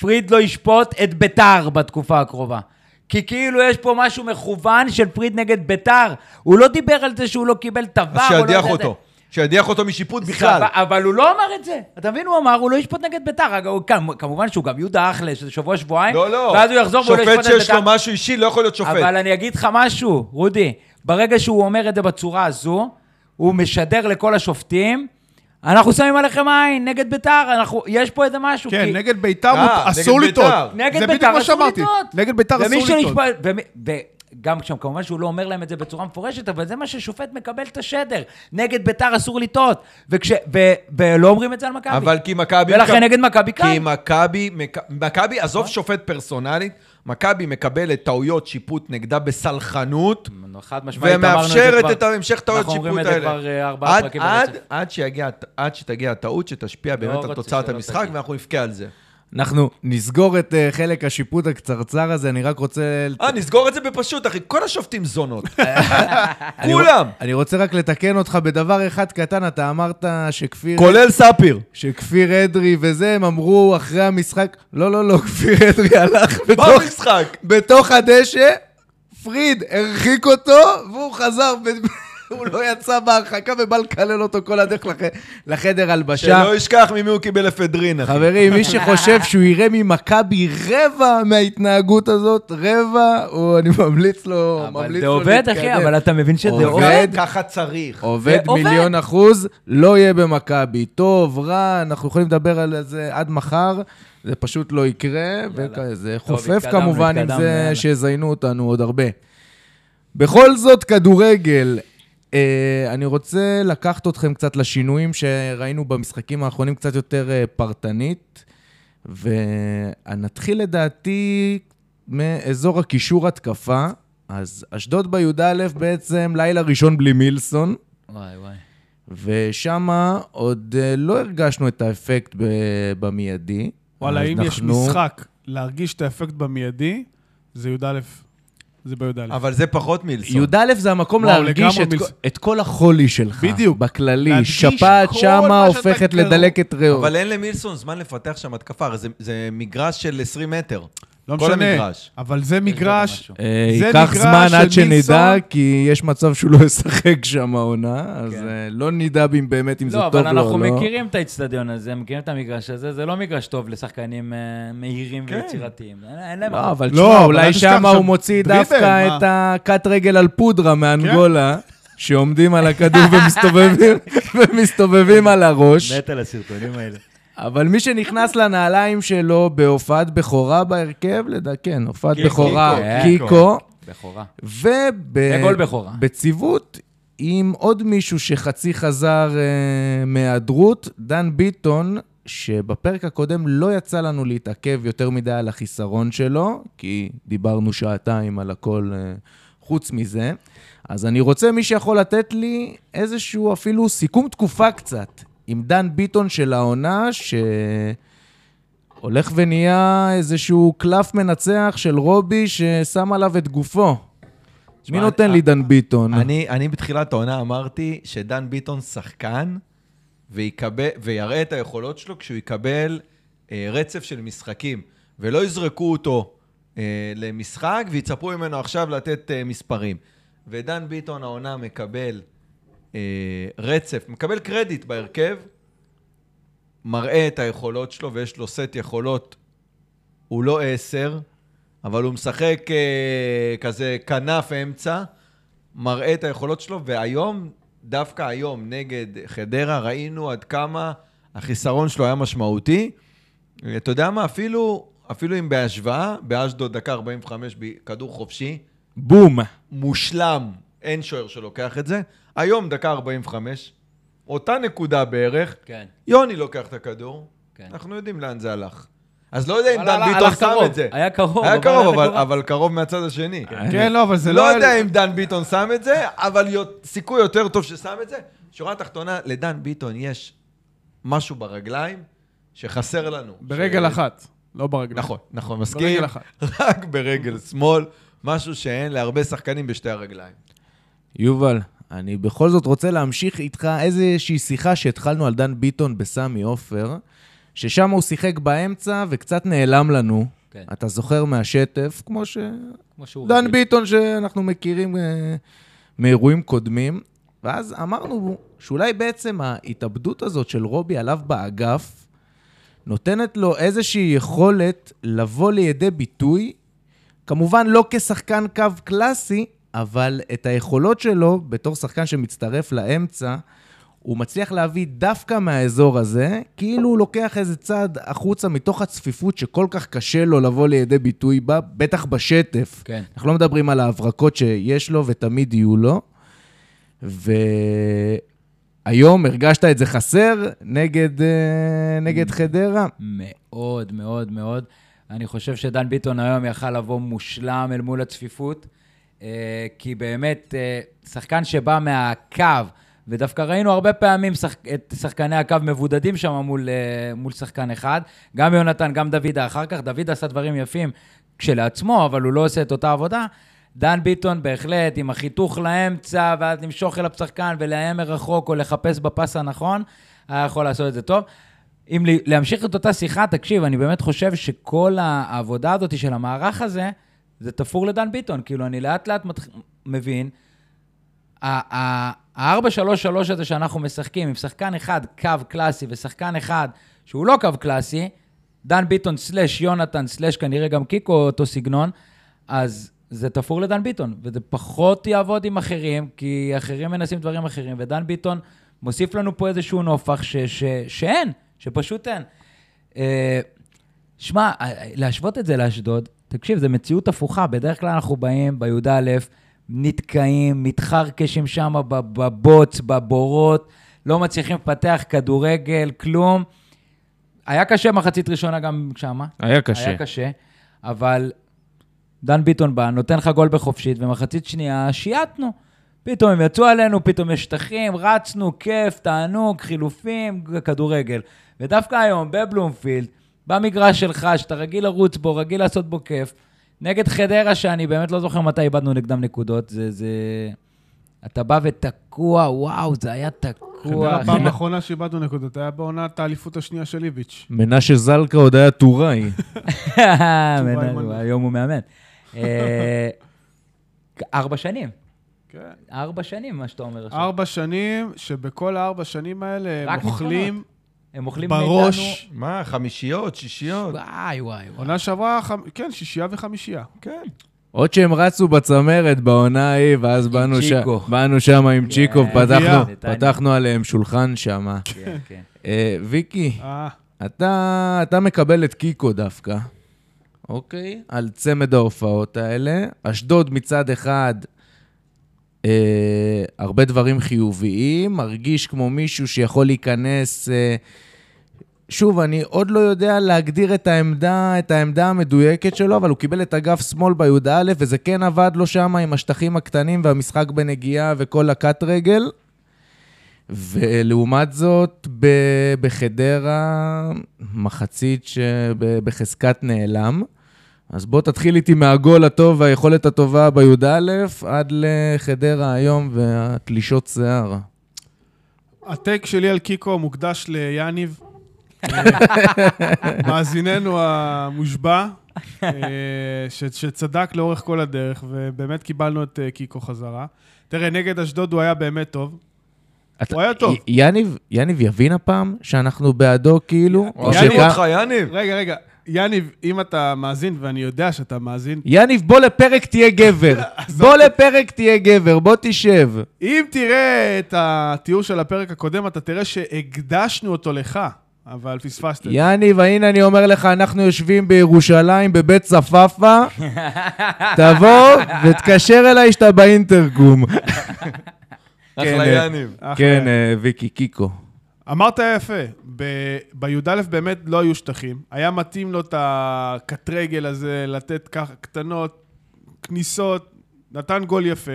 פריד לא ישפוט את ביתר בתקופה הקרובה. כי כאילו יש פה משהו מכוון של פריד נגד ביתר. הוא לא דיבר על זה שהוא לא קיבל את הוואר,
אז
הוא לא
שידיח
יודע את זה.
אותו. שידיח אותו משיפוט בכלל.
סבבה, אבל הוא לא אמר את זה. אתה מבין? הוא אמר, הוא לא ישפוט נגד ביתר. אגב, הוא- כמ- כמובן שהוא גם יהודה אחלה, שזה שבוע-שבועיים.
לא, לא.
ואז הוא יחזור והוא לא ישפוט נגד
שופט
ביתר.
שיש לו משהו אישי לא יכול להיות שופט.
אבל אני אגיד לך משהו, רודי, ברגע שהוא אומר את זה בצורה הזו, הוא משדר לכל השופטים, אנחנו שמים עליכם עין, נגד ביתר, אנחנו, יש פה איזה משהו.
כן,
כי-
נגד ביתר
אה,
מות-
נגד
אסור
ביתר.
לטעות.
נגד
זה בדיוק
ביתר
מה
אסור
שאמרתי.
לטעות.
נגד ביתר
ומי
אסור לטעות.
שנשפט- ומי- וגם שם, כמובן שהוא לא אומר להם את זה בצורה מפורשת, אבל זה מה ששופט מקבל את השדר. נגד ביתר אסור לטעות. וכש... ו- ולא אומרים את זה על מכבי.
אבל כי מכבי...
ולכן
מקב-
נגד מכבי קל. נכון.
כי מכבי... מק- מכבי, עזוב שופט פרסונלית, מכבי מקבלת טעויות שיפוט נגדה בסלחנות,
חד משמעית, אמרנו את זה כבר.
ומאפשרת את המשך טעויות
אנחנו
שיפוט
אומרים
האלה.
את זה כבר, אה, ארבעה
עד-
פרקים
עד-
ברצף.
עד שיגיע- עד שתגיע הטעות שתשפיע באמת על
רוצה
תוצאת
שלא
המשחק,
תגיע.
ואנחנו נבכה על זה.
אנחנו נסגור את אה, חלק השיפוט הקצרצר הזה, אני רק רוצה... לת-
אה, נסגור את זה בפשוט, אחי. כל השופטים זונות. כולם.
אני רוצה רק לתקן אותך בדבר אחד קטן, אתה אמרת שכפיר...
כולל ספיר.
שכפיר אדרי וזה, הם אמרו אחרי המשחק, לא, לא, לא, כפיר אדרי הלך בתוך,
במשחק.
בתוך הדשא, פריד הרחיק אותו, והוא חזר, ב- הוא לא יצא בהרחקה ובא לקלל אותו כל הדרך לח- לחדר הלבשה.
שלא ישכח ממי הוא קיבל אפדרין, אחי.
חברים, מי שחושב שהוא יראה ממכבי רבע מההתנהגות הזאת, רבע, הוא, אני ממליץ לו, ממליץ לו
אבל זה עובד, אחי, אבל אתה מבין שזה
עובד.
עובד.
כן, ככה צריך.
עובד
זה עובד.
מיליון אחוז, לא יהיה במכבי. טוב, רע, אנחנו יכולים לדבר על זה עד מחר, זה פשוט לא יקרה, וזה
טוב,
חופף
התקדמנו,
כמובן עם
התקדמנו,
זה
יאללה.
שיזיינו אותנו עוד הרבה. בכל זאת, כדורגל. אה, אני רוצה לקחת אתכם קצת לשינויים שראינו במשחקים האחרונים קצת יותר אה, פרטנית, ונתחיל לדעתי מאזור הקישור התקפה. אז אשדוד בי"א בעצם לילה ראשון בלי מילסון.
וואי, וואי.
ושם עוד אה, לא הרגשנו את האפקט ב- במיידי.
וואלה,
אז
אם יש
אנחנו-
משחק להרגיש את האפקט במיידי, זה י"א. זה בי"א.
אבל זה פחות מילסון.
י"א זה המקום
וואו,
להרגיש
לגמרי
את,
מלס-
כל- את כל החולי שלך.
בדיוק.
בכללי,
להרגיש
שפעת
כל
שמה
מה שאתה
הופכת
גרוע.
לדלקת ריאות.
אבל אין למילסון זמן לפתח שם התקפה, הרי זה, זה מגרש של 20 מטר.
לא
כל
משנה,
המגרש.
אבל זה מגרש,
אה,
זה
ייקח
מגרש
זמן
של
עד שנדע,
מילסון.
כי יש מצב שהוא לא ישחק שם העונה, אז
כן.
אה, לא נדע אם באמת אם זה
לא,
טוב
אבל
לו או
אנחנו
לא.
מכירים את האיצטדיון הזה, מכירים את המגרש הזה, זה לא מגרש טוב לשחקנים אה, מהירים ויצירתיים. אין- אין להם...
לא, אבל
לא,
תשמע,
אבל
אולי
אל תשכח
שם הוא
שם
מוציא
דריבל,
דווקא
מה?
את הכת רגל על פודרה מאנגולה, שעומדים על הכדור ומסתובבים- ומסתובבים על הראש.
מת על הסרטונים האלה.
אבל מי שנכנס לנעליים שלו בהופעת בכורה בהרכב, לדע, כן, הופעת
קיקו.
בכורה,
קיקו.
קיקו,
בכורה.
אה,
זה גול בכורה.
ובציוות עם עוד מישהו שחצי חזר אה, מהיעדרות, דן ביטון, שבפרק הקודם לא יצא לנו להתעכב יותר מדי על החיסרון שלו, כי דיברנו שעתיים על הכל אה, חוץ מזה. אז אני רוצה מי שיכול לתת לי איזשהו אפילו סיכום תקופה קצת, עם דן ביטון של העונה, ש... הולך ונהיה איזשהו קלף מנצח של רובי ששם עליו את גופו. מי
תשמע,
נותן
אני-
לי דן ביטון?
אני, אני בתחילת העונה אמרתי שדן ביטון שחקן, ויקבל, ויראה את היכולות שלו כשהוא יקבל אה, רצף של משחקים, ולא יזרקו אותו אה, למשחק ויצפו ממנו עכשיו לתת אה, מספרים. ודן ביטון העונה מקבל אה, רצף, מקבל קרדיט בהרכב, מראה את היכולות שלו, ויש לו סט יכולות, הוא לא עשר, אבל הוא משחק אה, כזה כנף אמצע, מראה את היכולות שלו, והיום, דווקא היום, נגד חדרה, ראינו עד כמה החיסרון שלו היה משמעותי. אתה יודע מה, אפילו, אפילו אם בהשוואה, באשדוד דקה 45 בכדור חופשי,
בום.
מושלם, אין שוער שלוקח את זה. היום דקה 45, אותה נקודה בערך,
כן.
יוני לוקח את הכדור,
כן.
אנחנו יודעים לאן זה הלך. אז לא יודע אם
אבל
דן
הלך-
ביטון
הלך
שם
קרוב.
את זה.
היה קרוב,
היה
אבל
קרוב,
היה
אבל-
קרוב.
אבל קרוב מהצד השני.
כן, לא, אבל זה
לא
לא...
יודע אם דן ביטון שם את זה, אבל יו- סיכוי יותר טוב ששם את זה. שורה תחתונה, לדן ביטון יש משהו ברגליים שחסר לנו.
ברגל
ש-
אחת, לא ברגל.
נכון, נכון, מסכים.
ברגל אחת.
רק ברגל שמאל, משהו שאין להרבה שחקנים בשתי הרגליים.
יובל, אני בכל זאת רוצה להמשיך איתך איזושהי שיחה שהתחלנו על דן ביטון בסמי עופר, ששם הוא שיחק באמצע וקצת נעלם לנו.
כן.
אתה זוכר מהשטף, כמו ש...
כמו שהוא
דן
רגיל.
ביטון שאנחנו מכירים אה, מאירועים קודמים. ואז אמרנו שאולי בעצם ההתאבדות הזאת של רובי עליו באגף נותנת לו איזושהי יכולת לבוא לידי ביטוי, כמובן לא כשחקן קו קלאסי, אבל את היכולות שלו בתור שחקן שמצטרף לאמצע, הוא מצליח להביא דווקא מהאזור הזה, כאילו הוא לוקח איזה צעד החוצה מתוך הצפיפות שכל כך קשה לו לבוא לידי ביטוי בה, בטח בשטף.
כן.
אנחנו לא מדברים על ההברקות שיש לו ותמיד יהיו לו. והיום הרגשת את זה חסר נגד, אה, נגד חדרה.
מאוד, מאוד, מאוד. אני חושב שדן ביטון היום יכל לבוא מושלם אל מול הצפיפות, אה, כי באמת, אה, שחקן שבא מהקו, ודווקא ראינו הרבה פעמים שח... את שחקני הקו מבודדים שם מול, אה, מול שחקן אחד, גם יונתן, גם דוידה אחר כך. דוידה עשה דברים יפים כשלעצמו, אבל הוא לא עושה את אותה עבודה. דן ביטון בהחלט, עם החיתוך לאמצע, ואז למשוך אליו שחקן ולאיים מרחוק או לחפש בפס הנכון, היה יכול לעשות את זה טוב. אם לי- להמשיך את אותה שיחה, תקשיב, אני באמת חושב שכל העבודה הזאת של המערך הזה, זה תפור לדן ביטון. כאילו, אני לאט לאט מתח... מבין, ה-4-3-3 הזה שאנחנו משחקים, עם שחקן אחד קו קלאסי ושחקן אחד שהוא לא קו קלאסי, דן ביטון סלאש יונתן סלאש כנראה גם קיקו אותו סגנון, אז זה תפור לדן ביטון, וזה פחות יעבוד עם אחרים, כי אחרים מנסים דברים אחרים, ודן ביטון מוסיף לנו פה איזשהו נופח ש- ש- שאין, שפשוט אין. אה, שמע, אה, להשוות את זה לאשדוד, תקשיב, זו מציאות הפוכה. בדרך כלל אנחנו באים בי"א, נתקעים, מתחרקשים שם בב- בבוץ, בבורות, לא מצליחים לפתח כדורגל, כלום. היה קשה מחצית ראשונה גם שמה.
היה קשה.
היה קשה, אבל דן ביטון בא, נותן לך גול בחופשית, ומחצית שנייה שייטנו. פתאום הם יצאו עלינו, פתאום יש שטחים, רצנו, כיף, תענוג, חילופים, כדורגל. ודווקא היום, בבלומפילד, במגרש שלך, שאתה רגיל לרוץ בו, רגיל לעשות בו כיף, נגד חדרה, שאני באמת לא זוכר מתי איבדנו נגדם נקודות, זה... זה... אתה בא ותקוע, וואו, זה היה תקוע.
חדרה פעם האחרונה שאיבדנו נקודות, היה בעונת האליפות השנייה של איביץ'.
מנשה זלקה עוד היה טוראי.
מנהל,
אימון.
היום הוא מאמן. אה, ארבע שנים.
כן.
ארבע שנים, מה שאתה אומר עכשיו.
ארבע שנים, שבכל הארבע שנים האלה הם
רק
אוכלים
הם אוכלים מאיתנו...
בראש.
מה, חמישיות, שישיות?
וואי, וואי, וואי.
עונה שעברה, חמ- כן, שישייה וחמישייה.
כן.
עוד שהם רצו בצמרת בעונה ההיא, ואז באנו, ש...
צ'יקו.
באנו שם עם צ'יקו,
כן.
פתחנו,
נתניה.
פתחנו עליהם שולחן שם.
כן, כן.
אה, ויקי,
אה,
אתה, אתה מקבל את קיקו דווקא, אוקיי? על צמד ההופעות האלה. אשדוד מצד אחד, אה, הרבה דברים חיוביים, מרגיש כמו מישהו שיכול להיכנס... אה, שוב, אני עוד לא יודע להגדיר את העמדה, את העמדה המדויקת שלו, אבל הוא קיבל את אגף שמאל בי"א, וזה כן עבד לו שם עם השטחים הקטנים והמשחק בנגיעה וכל הקט רגל. ולעומת זאת, ב- בחדרה, מחצית שבחזקת נעלם. אז בוא תתחיל איתי מהגול הטוב והיכולת הטובה בי"א עד לחדרה היום והתלישות שיער.
הטייק שלי על קיקו מוקדש ליאניב, מאזיננו המושבע, אה, ש- שצדק לאורך כל הדרך, ובאמת קיבלנו את אה, קיקו חזרה. תראה, נגד אשדוד הוא היה באמת טוב.
אתה-
הוא היה טוב.
י- יניב, יניב יבין הפעם שאנחנו בעדו כאילו? או
אוהבים
שכ-
אותך, יניב.
רגע, רגע, יניב, אם אתה מאזין, ואני יודע שאתה מאזין,
יניב, בוא לפרק תהיה גבר. בוא לפרק תהיה גבר, בוא תשב.
אם תראה את התיאור של הפרק הקודם, אתה תראה שהקדשנו אותו לך, אבל פספסת. את זה.
יניב, הנה אני אומר לך, אנחנו יושבים בירושלים בבית צפאפא, תבוא ותקשר אליי שאתה באינטרקום.
אחלה
אה.
יניב.
אחלה.
כן, אה, ויקי קיקו.
אמרת יפה, ב- בי"א באמת לא היו שטחים. היה מתאים לו את הקטרגל הזה, לתת ככה קטנות, כניסות, נתן גול יפה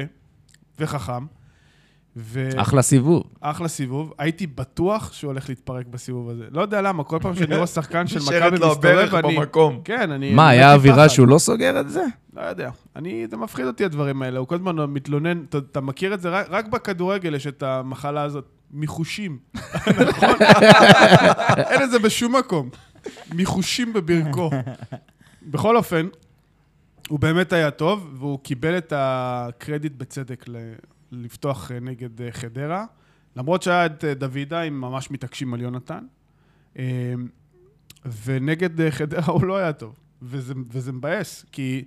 וחכם. ואחלה
אחלה סיבוב.
סיבוב. הייתי בטוח שהוא הולך להתפרק בסיבוב הזה. לא יודע למה, כל פעם שאני רואה שחקן של
נשארת
מכבי
לו הברך
מסתובב, אני...
במקום.
כן, אני...
מה,
אני
היה
מת
אווירה
מפחד.
שהוא לא סוגר את זה?
לא יודע. אני, זה מפחיד אותי הדברים האלה. הוא כל הזמן מתלונן, אתה, אתה מכיר את זה? רק, רק בכדורגל יש את המחלה הזאת, מחושים. נכון? אין את זה בשום מקום. מחושים בברכו. בכל אופן, הוא באמת היה טוב, והוא קיבל את הקרדיט בצדק ל, לפתוח אה, נגד אה, חדרה. למרות שהיה את אה, דוידה, הם ממש מתעקשים על יונתן. אה, ונגד אה, חדרה הוא לא היה טוב. וזה, וזה מבאס, כי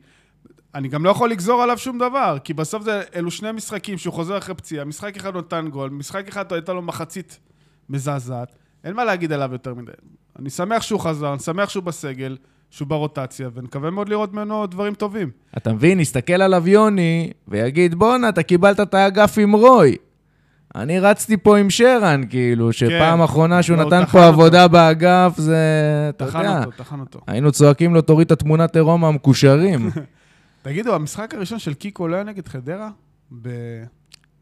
אני גם לא יכול לגזור עליו שום דבר, כי בסוף זה, אלו שני משחקים שהוא חוזר אחרי פציעה, משחק אחד נתן גול, משחק אחד הייתה לו מחצית מזעזעת, אין מה להגיד עליו יותר מדי. אני שמח שהוא חזר, אני שמח שהוא בסגל, שהוא ברוטציה, ונקווה מאוד לראות ממנו דברים טובים.
אתה מבין, יסתכל עליו יוני ויגיד, בואנה, אתה קיבלת את האגף עם רוי. אני רצתי פה עם שרן, כאילו, שפעם אחרונה שהוא
כן. לא, הוא
נתן
טחן
פה
אותו.
עבודה באגף, זה... אתה
טחן
יודע,
אותו, טחן אותו.
היינו צועקים לו, תוריד את התמונת עירום המקושרים.
תגידו, המשחק הראשון של קיקו לא היה נגד חדרה? ב-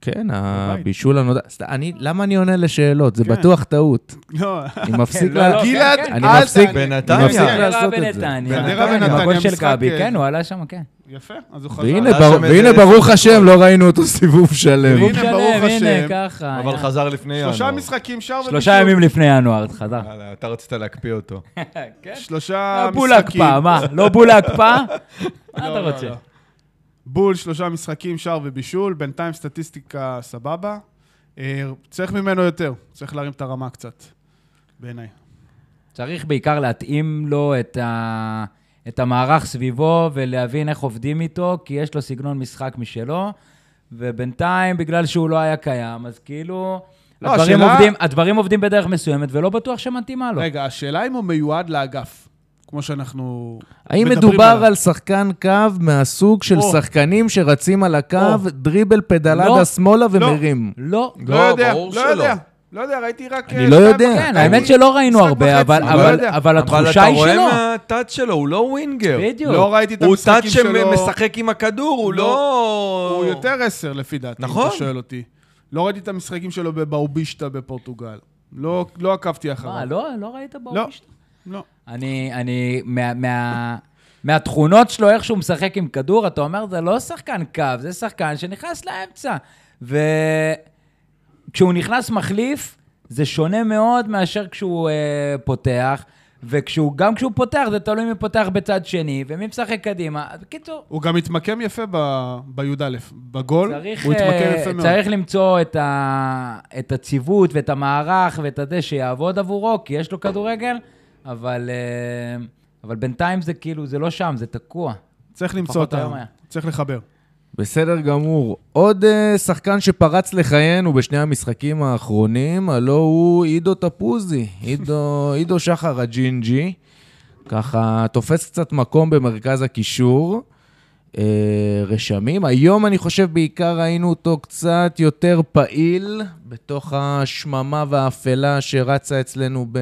כן, הבישול הנודע. סת- אני, למה אני עונה לשאלות? זה
כן.
בטוח טעות.
לא,
אני מפסיק
לא, לא,
לה...
גלעד,
כן.
אני
אל
מפסיק-
תענה.
אני מפסיק
בנתניה.
לעשות את זה.
בנתניה,
חדרה
בנתניה,
ונתניה,
הגול של
משחק,
גבי,
אה,
כן, הוא עלה שם, כן.
יפה, אז הוא חזר.
והנה,
עלה
בר-
שם איזה
והנה,
אלף
ברוך השם, לא ראינו אותו סיבוב שלם.
והנה,
שלם,
ברוך השם.
הנה, ככה.
אבל
הנה.
חזר לפני ינואר.
שלושה משחקים שר
שלושה
ובישול.
ימים לפני ינואר, חזר.
יאללה, אתה רצית להקפיא אותו.
אה,
כן.
שלושה
בול
משחקים.
הקפאה, מה? לא בול הקפאה? מה
אה, לא,
אתה
לא,
רוצה?
לא. בול, שלושה משחקים, שער ובישול, בינתיים סטטיסטיקה סבבה. אה, צריך ממנו יותר, צריך להרים את הרמה קצת, בעיניי.
צריך בעיקר להתאים לו את, ה... את המערך סביבו ולהבין איך עובדים איתו, כי יש לו סגנון משחק משלו, ובינתיים, בגלל שהוא לא היה קיים, אז כאילו...
לא,
הדברים,
השאלה-
עובדים, הדברים עובדים בדרך מסוימת, ולא בטוח שמתאימה
לא.
לו.
רגע, השאלה אם הוא מיועד לאגף, כמו שאנחנו
האם
מדברים
מדובר
עליו.
על שחקן קו מהסוג של
או.
שחקנים שרצים על הקו,
או.
דריבל פדלדה
לא.
שמאלה ומרים?
לא.
לא,
לא יודע,
ברור
לא
שלא.
יודע, לא יודע, ראיתי רק...
אני
אה,
לא
שתיים
יודע.
וחצי.
כן,
אני-
האמת שלא ראינו
משחק
הרבה, אבל,
וחצי, לא
אבל,
יודע.
אבל
אבל
התחושה
אתה
היא
רואה
שלו.
מהטאט שלו, הוא לא ווינגר.
בדיוק.
לא ראיתי את
הוא טאט
המשחקים שלו.
שמשחק עם הכדור, הוא
לא.
לא...
הוא יותר עשר לפי דעתי, אם
נכון.
אתה שואל אותי. לא ראיתי את המשחקים שלו בבאובישטה בפורטוגל. לא לא עקבתי
מה,
אחריו.
לא, לא ראית
לא,
באופישט?
לא.
אני, אני, מה, מה, מהתכונות שלו, איך שהוא משחק עם כדור, אתה אומר, זה לא שחקן קו, זה שחקן שנכנס לאמצע. וכשהוא נכנס מחליף, זה שונה מאוד מאשר כשהוא אה, פותח, וגם כשהוא פותח, זה תלוי מי פותח בצד שני, ומי משחק קדימה. אז בקיצור,
הוא גם התמקם יפה ב- בי"א, בגול.
צריך,
הוא התמקם
אה,
יפה מאוד.
צריך למצוא את, ה, את הציוות ואת המערך ואת הזה שיעבוד עבורו, כי יש לו כדורגל, אבל, אה, אבל בינתיים זה כאילו, זה לא שם, זה תקוע.
צריך למצוא
פחות
אותם,
היום היה.
צריך לחבר.
בסדר גמור. עוד אה, שחקן שפרץ לחיינו בשני המשחקים האחרונים, הלו הוא עידו תפוזי, עידו, עידו שחר הג'ינג'י. ככה תופס קצת מקום במרכז הקישור. אה, רשמים. היום אני חושב בעיקר ראינו אותו קצת יותר פעיל בתוך השממה והאפלה שרצה אצלנו ב...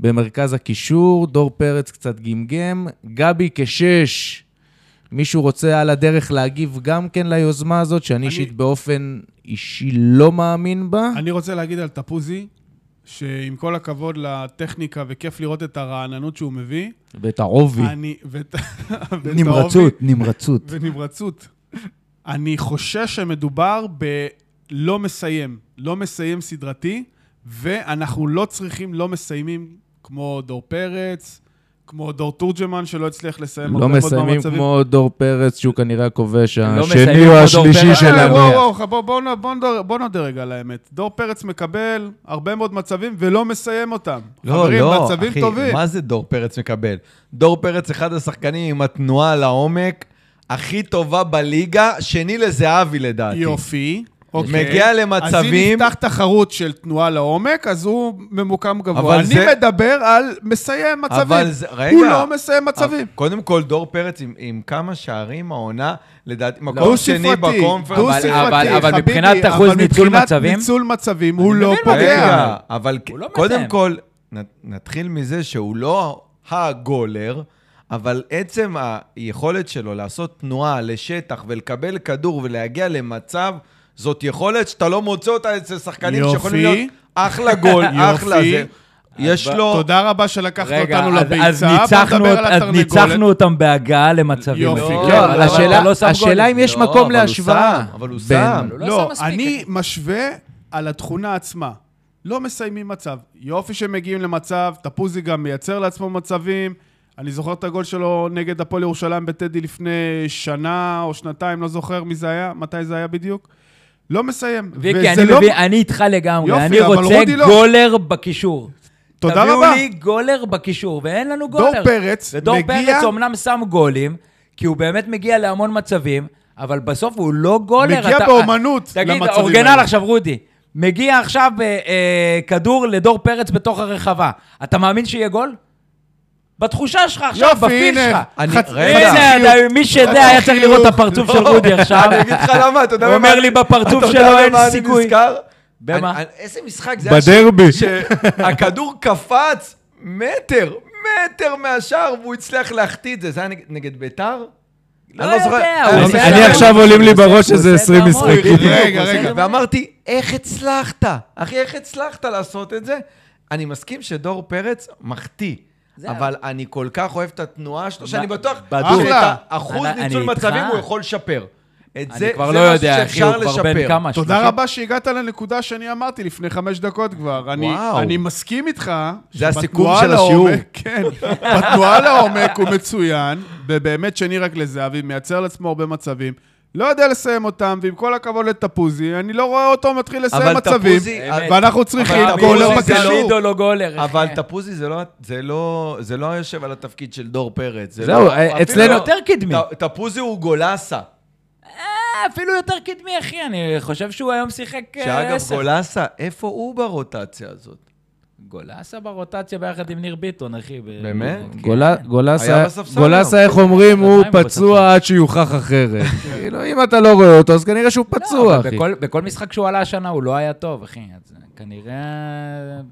במרכז הקישור. דור פרץ קצת גמגם. גבי כשש. מישהו רוצה על הדרך להגיב גם כן ליוזמה הזאת, שאני אישית באופן אישי לא מאמין בה?
אני רוצה להגיד על תפוזי, שעם כל הכבוד לטכניקה וכיף לראות את הרעננות שהוא מביא,
ואת העובי.
אני... ואת- ואת
נמרצות, נמרצות.
האופי- ונמרצות. אני חושש שמדובר בלא מסיים, לא מסיים סדרתי, ואנחנו לא צריכים לא מסיימים כמו דור פרץ, כמו דור תורג'מן שלא הצליח לסיים
לא
הרבה מאוד
מסיימים
במצבים.
כמו דור פרץ, שהוא כנראה הכובש
לא
השני
מסיימים
או
כמו דור
השלישי
פרץ.
של
אה,
אה,
הנוער.
לא,
וואו, וואו, בוא- בוא נ- בוא נדר- בוא נודה רגע על האמת. דור פרץ מקבל הרבה מאוד מצבים ולא מסיים אותם. לא,
לא,
חברים, מצבים טובים.
לא, מה זה דור פרץ מקבל? דור פרץ, אחד השחקנים עם התנועה לעומק הכי טובה בליגה, שני לזהבי לדעתי.
יופי. אוקיי.
מגיע
אז אם
למצבים-
נפתח תחרות של תנועה לעומק, אז הוא ממוקם
אבל
גבוה. אני
זה-
מדבר על מסיים מצבים.
אבל זה- רגע.
הוא לא מסיים מצבים.
קודם כל, דור פרץ עם, עם כמה שערים העונה, לדעתי, מקום שני
דו-ספרתי,
בקונפרנס.
דו-ספרתי,
לא אבל- אבל- אבל
חביבי,
מבחינת
אבל
אחוז ניצול
מבחינת
מצבים-
ניצול מצבים, הוא
אני
לא
מבין מה אתה
פוגע.
רגע, אבל
הוא לא מתאם.
קודם כל, נ- נתחיל מזה שהוא לא הגולר, אבל עצם היכולת שלו לעשות תנועה לשטח ולקבל כדור ולהגיע למצב, זאת יכולת שאתה לא מוצא אותה אצל שחקנים
יופי.
שיכולים להיות אחלה גול,
יופי.
אחלה זה. יש לו...
תודה רבה שלקחת
רגע,
אותנו
אז- אז
לביצה, בוא
ניצחנו
נדבר על
אות- אז ניצחנו
התרנגולת.
אותם בהגעה למצבים.
יופי,
לא,
כן,
לא,
אבל
השאלה-
אתה לא שם
השאלה
גולים.
אם יש
לא, אבל
מקום
הוא
להשוואה.
שם, אבל הוא
בין-
שם.
הוא לא
לא,
עשה מספיק.
אני משווה על התכונה עצמה. לא מסיימים מצב. יופי שמגיעים למצב, תפוזי גם מייצר לעצמו מצבים. אני זוכר את הגול שלו נגד הפועל ירושלים בטדי לפני שנה או שנתיים, לא זוכר מי זה היה, מתי זה היה בדיוק. לא מסיים.
ויקי,
וזה
אני
לא-
מבין, אני איתך לגמרי.
יופי,
אני
אבל
רוצה
רודי לא.
גולר בקישור.
תודה
תביאו
רבה.
לי גולר בקישור, ואין לנו
דור
גולר.
פרץ
ודור
מגיע-
פרץ אומנם שם גולים, כי הוא באמת מגיע להמון מצבים, אבל בסוף הוא לא גולר.
מגיע
אתה-
באומנות
תגיד,
למצבים
אורגנל
האלה.
עכשיו, רודי. מגיע עכשיו אה, אה, כדור לדור פרץ בתוך הרחבה. אתה מאמין שיהיה גול? בתחושה שלך עכשיו,
יופי,
בפיל
הנה.
שלך.
אני-
חצי-
רגע.
איזה
חיוך.
עדיין, מי שזה היה צריך לראות את הפרצוף
לא,
של רודי עכשיו.
אני אגיד לך למה, אתה יודע
הוא
במה-
אומר לי בפרצוף
אתה יודע
שלו אין
במה אני
סיכוי.
נזכר?
במה?
אני- אני- איזה משחק זה היה?
בדרבי.
כן.
שהכדור קפץ מטר, מטר מהשער, והוא הצליח להחטיא את זה. זה היה נג- נגד ביתר?
לא
אני זוכר. אה,
יודע,
אני-
הוא
אני-
עושה
אני
המון.
עכשיו עולים לי
הוא עושה-
בראש
הוא
איזה
עושה
20
המון.
משחקים.
בדיוק,
רגע,
הוא עושה
רגע.
את זה. ואמרתי, איך הצלחת? אחי, איך הצלחת לעשות את זה? אני מסכים שדור פרץ מחטיא.
זהו.
אבל אני כל כך אוהב את התנועה שלו, שאני
ב-
בטוח
בדוק.
שאת האחוז
אני- אני
ניצול
איתך.
מצבים הוא יכול לשפר. את זה,
אני כבר
זה
לא
משהו
יודע, אחי, הוא
שאפשר
כבר בן
לשפר.
כמה?
תודה
שלושים?
רבה שהגעת לנקודה שאני אמרתי לפני חמש דקות כבר. אני,
וואו.
אני מסכים איתך.
זה
שבתנועה
הסיכום של
לעומק-
השיעור.
כן. בתנועה לעומק הוא מצוין, ובאמת שני רק לזהבי, מייצר לעצמו הרבה מצבים. לא יודע לסיים אותם, ועם כל הכבוד לתפוזי, אני לא רואה אותו מתחיל לסיים
אבל
מצבים.
תפוזי-
ואנחנו צריכים
אבל
גולר
תפוזי זה
זה
לא-
בקישור.
לידו לא גולר.
אבל
אחי.
תפוזי זה לא, זה לא, זה לא יושב על התפקיד של דור פרץ. זה
זהו,
לא,
אה,
אפילו
אצלנו-
לא.
יותר קדמי.
ת- תפוזי הוא גולסה.
אה, אפילו יותר קדמי, אחי, אני חושב שהוא היום שיחק אה,
שאגב,
עשר.
גולסה, איפה הוא ברוטציה הזאת?
גולסה ברוטציה ביחד עם ניר ביטון, אחי. ב-
באמת?
כן.
גולה- גולסה-
היה בספסל
גולסה,
גם.
איך אומרים, הוא
עדיין הוא
פצוע עד שיוכח אחרת. כאילו, אם אתה לא רואה אותו, אז כנראה שהוא
לא,
פצוע,
אבל
אחי.
בכל- בכל משחק שהוא עלה השנה הוא לא היה טוב, אחי. אז כנראה...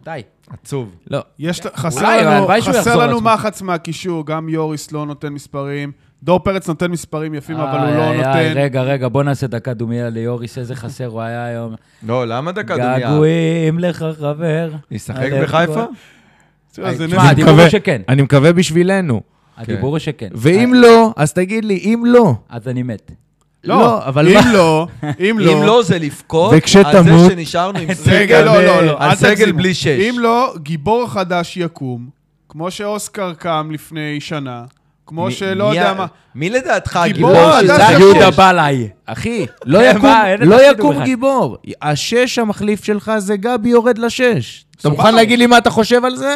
די.
עצוב.
לא,
יש, ל- חסר
אולי,
לנו,
הלוואי שהוא
חסר
יחזור
לנו
לעצמו.
מחץ מהקישור, גם יוריס לא נותן מספרים. דור פרץ נותן מספרים יפים, אבל הוא
איי,
לא
איי,
נותן.
רגע, רגע, בוא נעשה דקה דומייה ליוריס, איזה חסר הוא היה היום.
לא, למה דקה דומיה?
געגועים לך, חבר.
ישחק
הלב
בחיפה?
כואב.
תראה, זה
תשמע,
נס-
הדיבור
מקווה-
הוא שכן. אה.
אני מקווה בשבילנו.
הדיבור הוא שכן.
ואם לא, אז תגיד לי, אם לא,
אז אני מת.
לא,
לא, אבל
אם
מה-
לא, אם לא...
אם לא, זה לבכות על
וכשתמות-
זה שנשארנו עם
רגע,
סגל,
לא, לא, לא. אל
על סגל
תגזימו.
בלי שש.
אם לא, גיבור חדש יקום, כמו שאוסקר קם לפני שנה, כמו
מי-
שלא
מי
לא יודע
ה-
מה.
מי לדעתך
גיבור
הגיבור
אתה
של
יודע
זה
שש.
סגל
יהודה
שש?
בלעי.
אחי, לא
מה,
יקום-
אין לך
לא
שידור
יקום
אחד.
גיבור. השש המחליף שלך זה גבי יורד לשש. אתה
סבבה.
מוכן להגיד לי מה אתה חושב על זה?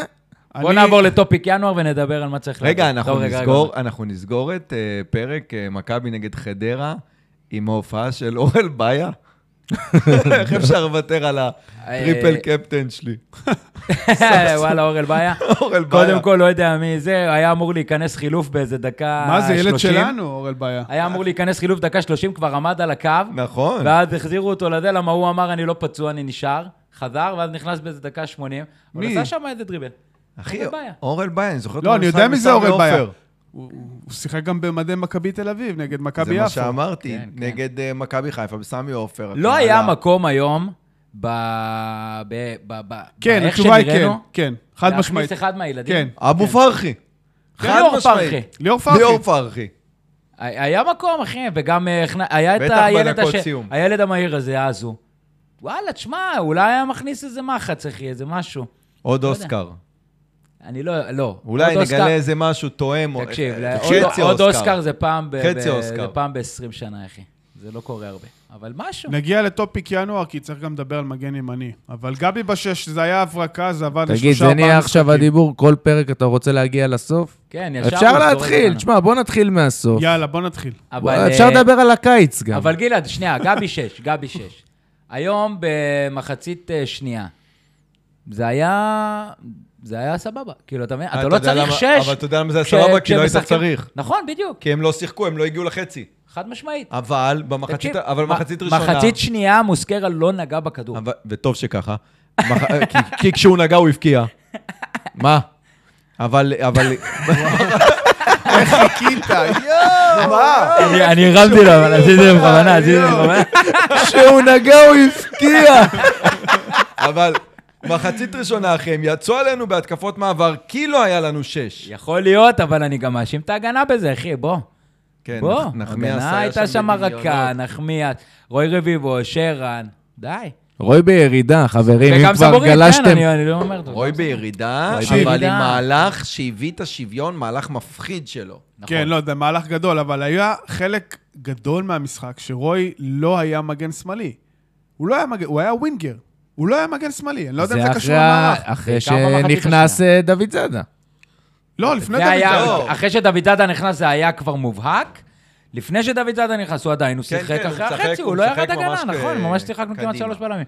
בוא
אני-
נעבור לטופיק ינואר ונדבר על מה צריך
רגע,
לעשות.
אנחנו
טוב, רגע,
נסגור-
רגע.
אנחנו נסגור את אה, פרק אה, מכבי נגד חדרה עם ההופעה של אורל באיה. איך אפשר לוותר על הטריפל
אה,
קפטן שלי?
וואלה, אורל בעיה.
אורל באיה.
קודם כל, לא יודע מי זה, היה אמור להיכנס חילוף באיזה
אה,
דקה
מה זה, ילד
30.
שלנו, אורל בעיה.
היה אמור להיכנס חילוף דקה 30, כבר עמד על הקו,
נכון.
ואז החזירו אותו לדלם, למה הוא אמר, אני לא פצוע, אני נשאר. חזר, ואז נכנס באיזה דקה 80. אבל
מי?
עשה שם איזה דריבל.
אחי,
אורל באיה.
אורל באיה, אני זוכר
לא, אני
במשחק
יודע מי זה
בסמי
אורל בעיה.
עופר.
הוא הוא שיחק גם במדי מכבי תל אביב, נגד
זה
מכבי
מה
יפו.
שאמרתי,
כן, כן.
נגד אה, מכבי חיפה בסמי עופר.
לא
הקהל
היה
ה-
מקום היום, ב... ב... ב... ב...
כן,
באיך
התשובה היא כן,
שנראינו,
כן, חד משמעית.
להכניס אחד מהילדים.
כן.
אבו פרחי. חד
ליאור
משמעית.
פרחי.
ליאור פרחי.
ליאור פרחי.
היה מקום, אחי, וגם אה, הכנ- היה את
בטח
הילד,
בדקות
הש...
סיום.
הילד המהיר הזה, אזו. וואלה, תשמע, אולי היה מכניס איזה מחץ, אחי, איזה משהו.
עוד
לא יודע.
אוסקר.
אני לא, לא.
אולי
עוד אוסקר-
נגלה איזה משהו תואם. או-
תקשיב,
אה,
לא,
חצי
עוד- עוד אוסקר זה פעם ב-
חצי
ב-
אוסקר.
זה פעם ב-20 שנה, אחי. זה לא קורה הרבה. אבל משהו.
נגיע לטופיק ינואר, כי צריך גם לדבר על מגן ימני. אבל גבי בשש, זה היה הברקה, זה עבד
תגיד,
לשלושה
זה
ארבעה
נהיה עכשיו
משחקים.
הדיבור, כל פרק אתה רוצה להגיע לסוף?
כן, ישר...
אפשר
הוא זורק
להתחיל,
אותנו.
תשמע, בוא נתחיל מהסוף.
יאללה, בוא נתחיל.
אבל,
אפשר
אה,
לדבר על הקיץ גם.
אבל גלעד, שנייה, גבי שש, גבי שש. היום במחצית אה, שנייה. זה היה... זה היה סבבה. כאילו, אתה מבין?
אה,
אתה לא
אתה יודע
צריך
למה-
שש.
אבל אתה יודע למה זה היה
כש-
סבבה? כי לא היית
כשמשחקים-
צריך.
נכון, בדיוק.
כי הם לא שיחקו, הם לא הגיעו לחצי.
חד משמעית.
אבל במחצית,
תקשיב,
אה, אבל
מ-
במחצית ראשונה...
מחצית שנייה, מוסקרה לא נגע בכדור.
אבל- וטוב שככה. מח- אה, כי- כי כשהוא נגע הוא הבקיע. מה? אבל, אבל...
חיכית,
מה?
אני הרמתי לו, אבל עשיתי את זה בכוונה, עשיתי את זה בכוונה.
כשהוא נגע הוא הבקיע.
אבל מחצית ראשונה, אחי, הם יצאו עלינו בהתקפות מעבר, כי לא היה לנו שש.
יכול להיות, אבל אני גם מאשים את ההגנה בזה, אחי, בוא.
כן,
בוא.
נח- נחמיאס
ההגנה
היה לא
הייתה שם
בדמיונות.
רכה, נחמיאס, רוי רביבו, שרן, די.
רוי בירידה, חברים, אם
וגם
כבר
סבורית, כן,
גלשתם...
אני- אני לא אומר את זה.
רוי בירידה,
רוי
אבל
בירידה.
עם מהלך שהביא את השוויון, מהלך מפחיד שלו.
נכון.
כן, לא, זה מהלך גדול, אבל היה חלק גדול מהמשחק שרוי לא היה מגן שמאלי. הוא לא היה מגן, הוא היה ווינגר. הוא לא היה מגן שמאלי, אני לא יודע אם זה
אחרי,
קשור למערך.
ה- אחרי
בעיקר במחצית
שנכנס אה, דוד זאדה.
לא, לפני
זה
דוד זאדה.
היה,
זאדה.
אחרי שדוד זאדה נכנס זה היה כבר מובהק. לפני שדוד זאדה נכנס, הוא עדיין, הוא
כן,
שיחק
כן, הוא
אחרי
משחק,
החצי,
הוא
הוא לא
משחק
ירד הגנה,
ממש כ-
נכון, ממש שיחקנו כמעט
קדימה.
שלוש בלמים.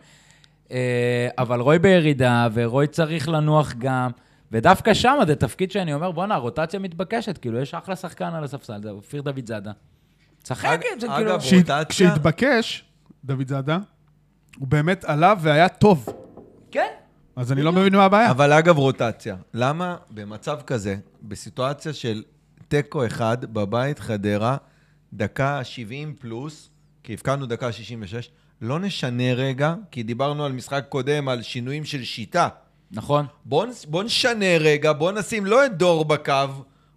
אה, אבל רוי בירידה, ורוי צריך לנוח גם, ודווקא שם זה תפקיד שאני אומר, בואנה, הרוטציה מתבקשת, כאילו, יש אחלה שחקן על הספסל, זה אופיר דוד זאדה.
אג-
צחק את זה, כאילו...
אגב,
כשהת-
רוטציה?
כשהתבקש, דוד זאדה, הוא באמת עלה והיה טוב.
כן,
אז אני לא מבין מה הבעיה.
אבל אגב, רוטציה. למה במצב כזה, בסיטואציה של תיקו אחד בבית חדרה, דקה 70 פלוס, כי הבקענו דקה 66, לא נשנה רגע, כי דיברנו על משחק קודם, על שינויים של שיטה.
נכון.
בואו בוא נשנה רגע, בואו נשים לא את דור בקו,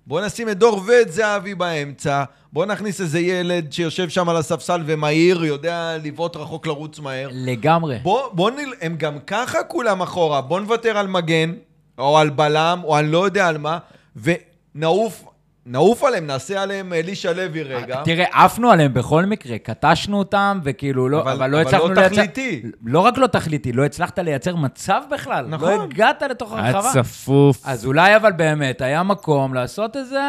בואו נשים את דור ואת זהבי באמצע, בואו נכניס איזה ילד שיושב שם על הספסל ומהיר, יודע לבעוט רחוק לרוץ מהר.
לגמרי.
בוא, בוא נל... הם גם ככה כולם אחורה, בוא נוותר על מגן, או על בלם, או אני לא יודע על מה, ונעוף, נעוף עליהם, נעשה עליהם אלישע לוי רגע.
אה,
תראה, עפנו עליהם בכל מקרה, קטשנו אותם, וכאילו לא,
אבל-
אבל,
אבל
לא הצלחנו
לא תכליתי.
לא רק לא תכליתי, לא הצלחת לייצר מצב בכלל.
נכון.
לא הגעת לתוך
היה
הרחבה.
צפוף.
אז אולי אבל באמת, היה מקום לעשות איזה...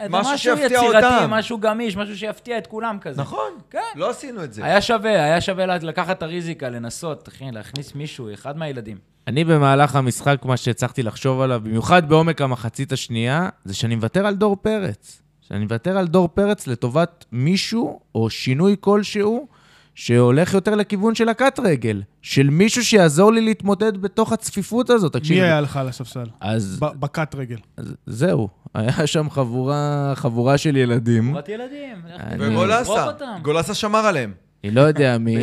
איזה
משהו
משהו
שיפתיע
יצירתי,
אותם.
משהו גמיש, משהו שיפתיע את כולם כזה.
נכון,
כן.
לא עשינו את
אה,
זה.
היה שווה, היה שווה לה- לקחת את הריזיקה, לנסות, אחי, להכניס מישהו, אחד מהילדים.
אני במהלך המשחק, מה שהצלחתי לחשוב עליו, במיוחד בעומק המחצית השנייה, זה שאני מוותר על דור פרץ. שאני מוותר על דור פרץ לטובת מישהו, או שינוי כלשהו, שהולך יותר לכיוון של הקט רגל. של מישהו שיעזור לי להתמודד בתוך הצפיפות הזאת. תקשיב,
מי היה לך על הספסל?
אז
ב- בקת רגל.
אז זהו, היה שם חבורה, חבורה של ילדים.
תמורת ילדים, לא לך
אני-
תדע, תזרוק
וגולסה,
אותם. גולסה.
גולסה שמר עליהם.
אני לא יודע מי,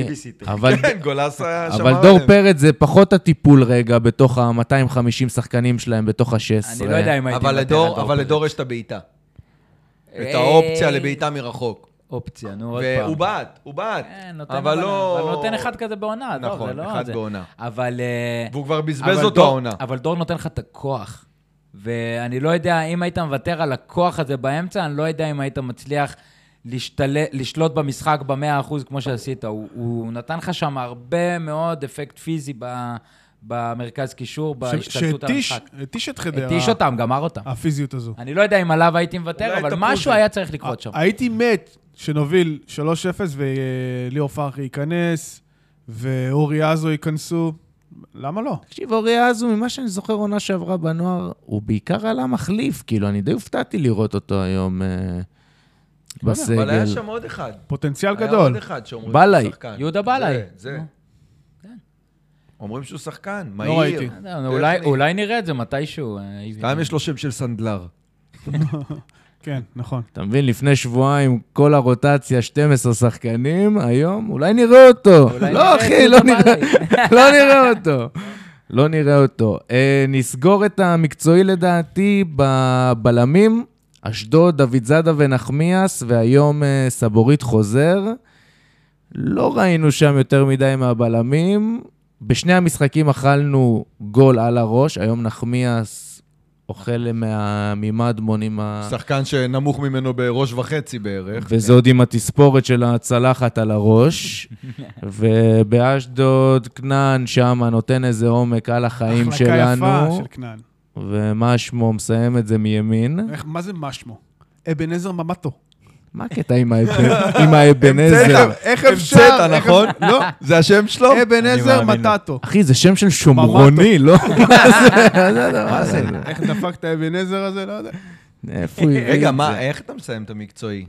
אבל,
כן, גולסה שמר
אבל
עליהם.
דור פרץ זה פחות הטיפול רגע בתוך ה-250 שחקנים שלהם בתוך ה-16.
אני לא יודע אם הייתי... מוותר
אבל
על
לדור, אבל
פרץ.
לדור יש את הבעיטה. את
אה,
האופציה לבעיטה מרחוק.
אופציה, נו, עוד פעם.
והוא בעט, הוא בעט.
כן, נותן
אבל
אבל
לא...
נותן אחד כזה בעונה, עזוב,
נכון,
זה לא
אחד
זה.
בעונה.
אבל... אה,
והוא כבר
אבל
בזבז אותו
דור-
העונה.
אבל דור נותן לך את הכוח. ואני לא יודע, אם היית מוותר על הכוח הזה באמצע, אני לא יודע אם היית מצליח להשתל... לשלוט במשחק ב-100% כמו שעשית. הוא, הוא נתן לך שם הרבה מאוד אפקט פיזי ב... במרכז קישור, בהשתלטות על
שהתיש אה.
המשחק.
התיש את חדרה.
התיש אותם, גמר אותם.
הפיזיות הזו.
אני לא יודע אם עליו הייתי
אולי
מוותר, אבל
תפוזי.
משהו היה צריך לקרות שם.
הייתי מת שנוביל 3-0 וליאור פרחי ייכנס, ואורי עזו ייכנסו. למה לא?
תקשיב, אוריה הזו, ממה שאני זוכר עונה שעברה בנוער, הוא בעיקר עלה מחליף, כאילו, אני די הופתעתי לראות אותו היום אה,
כן, אבל היה
בסגל.
שם עוד אחד.
פוטנציאל
היה עוד
גדול.
אחד שאומרים
בלאי.
שהוא שחקן.
יהודה בלאי.
זה, זה.
נו.
אומרים שהוא שחקן, מהיר.
לא ראיתי.
אה, אולי, אולי נראה את זה מתישהו. אה,
גם יש לו שם של סנדלר.
כן, נכון.
אתה מבין, לפני שבועיים כל הרוטציה, 12 שחקנים, היום אולי נראה אותו.
אולי
לא,
נראה
אחי,
את
לא
יהודה
נראה, לא נראה אותו. לא נראה אותו. אה, נסגור את המקצועי לדעתי בבלמים, אשדוד, דוד זאדה ונחמיאס, והיום אה, סבורית חוזר. לא ראינו שם יותר מדי מהבלמים. בשני המשחקים אכלנו גול על הראש, היום נחמיאס אוכל מהמימדמון עם
אה.
ה...
שחקן שנמוך ממנו בראש וחצי בערך.
וזה עוד עם התספורת של הצלחת על הראש. ובאשדוד, כנען שם נותן איזה עומק על החיים
החלקה יפה
שלנו.
של כנען.
ומה שמו מסיים את זה מימין.
איך- מה זה משמו? אבן עזר ממטו.
מה הקטע עם האבן- עם האבן עזר?
איך- איך אפשר, נכון? לא, זה השם שלו?
אבן
אני
עזר
מאמין לו.
מטאטו.
אחי, זה שם של שומרוני, לא? מה זה?
איך דפק את האבן עזר הזה? לא יודע.
איפה הוא הביא את
רגע,
זה?
מה, איך אתה מסיים את המקצועי?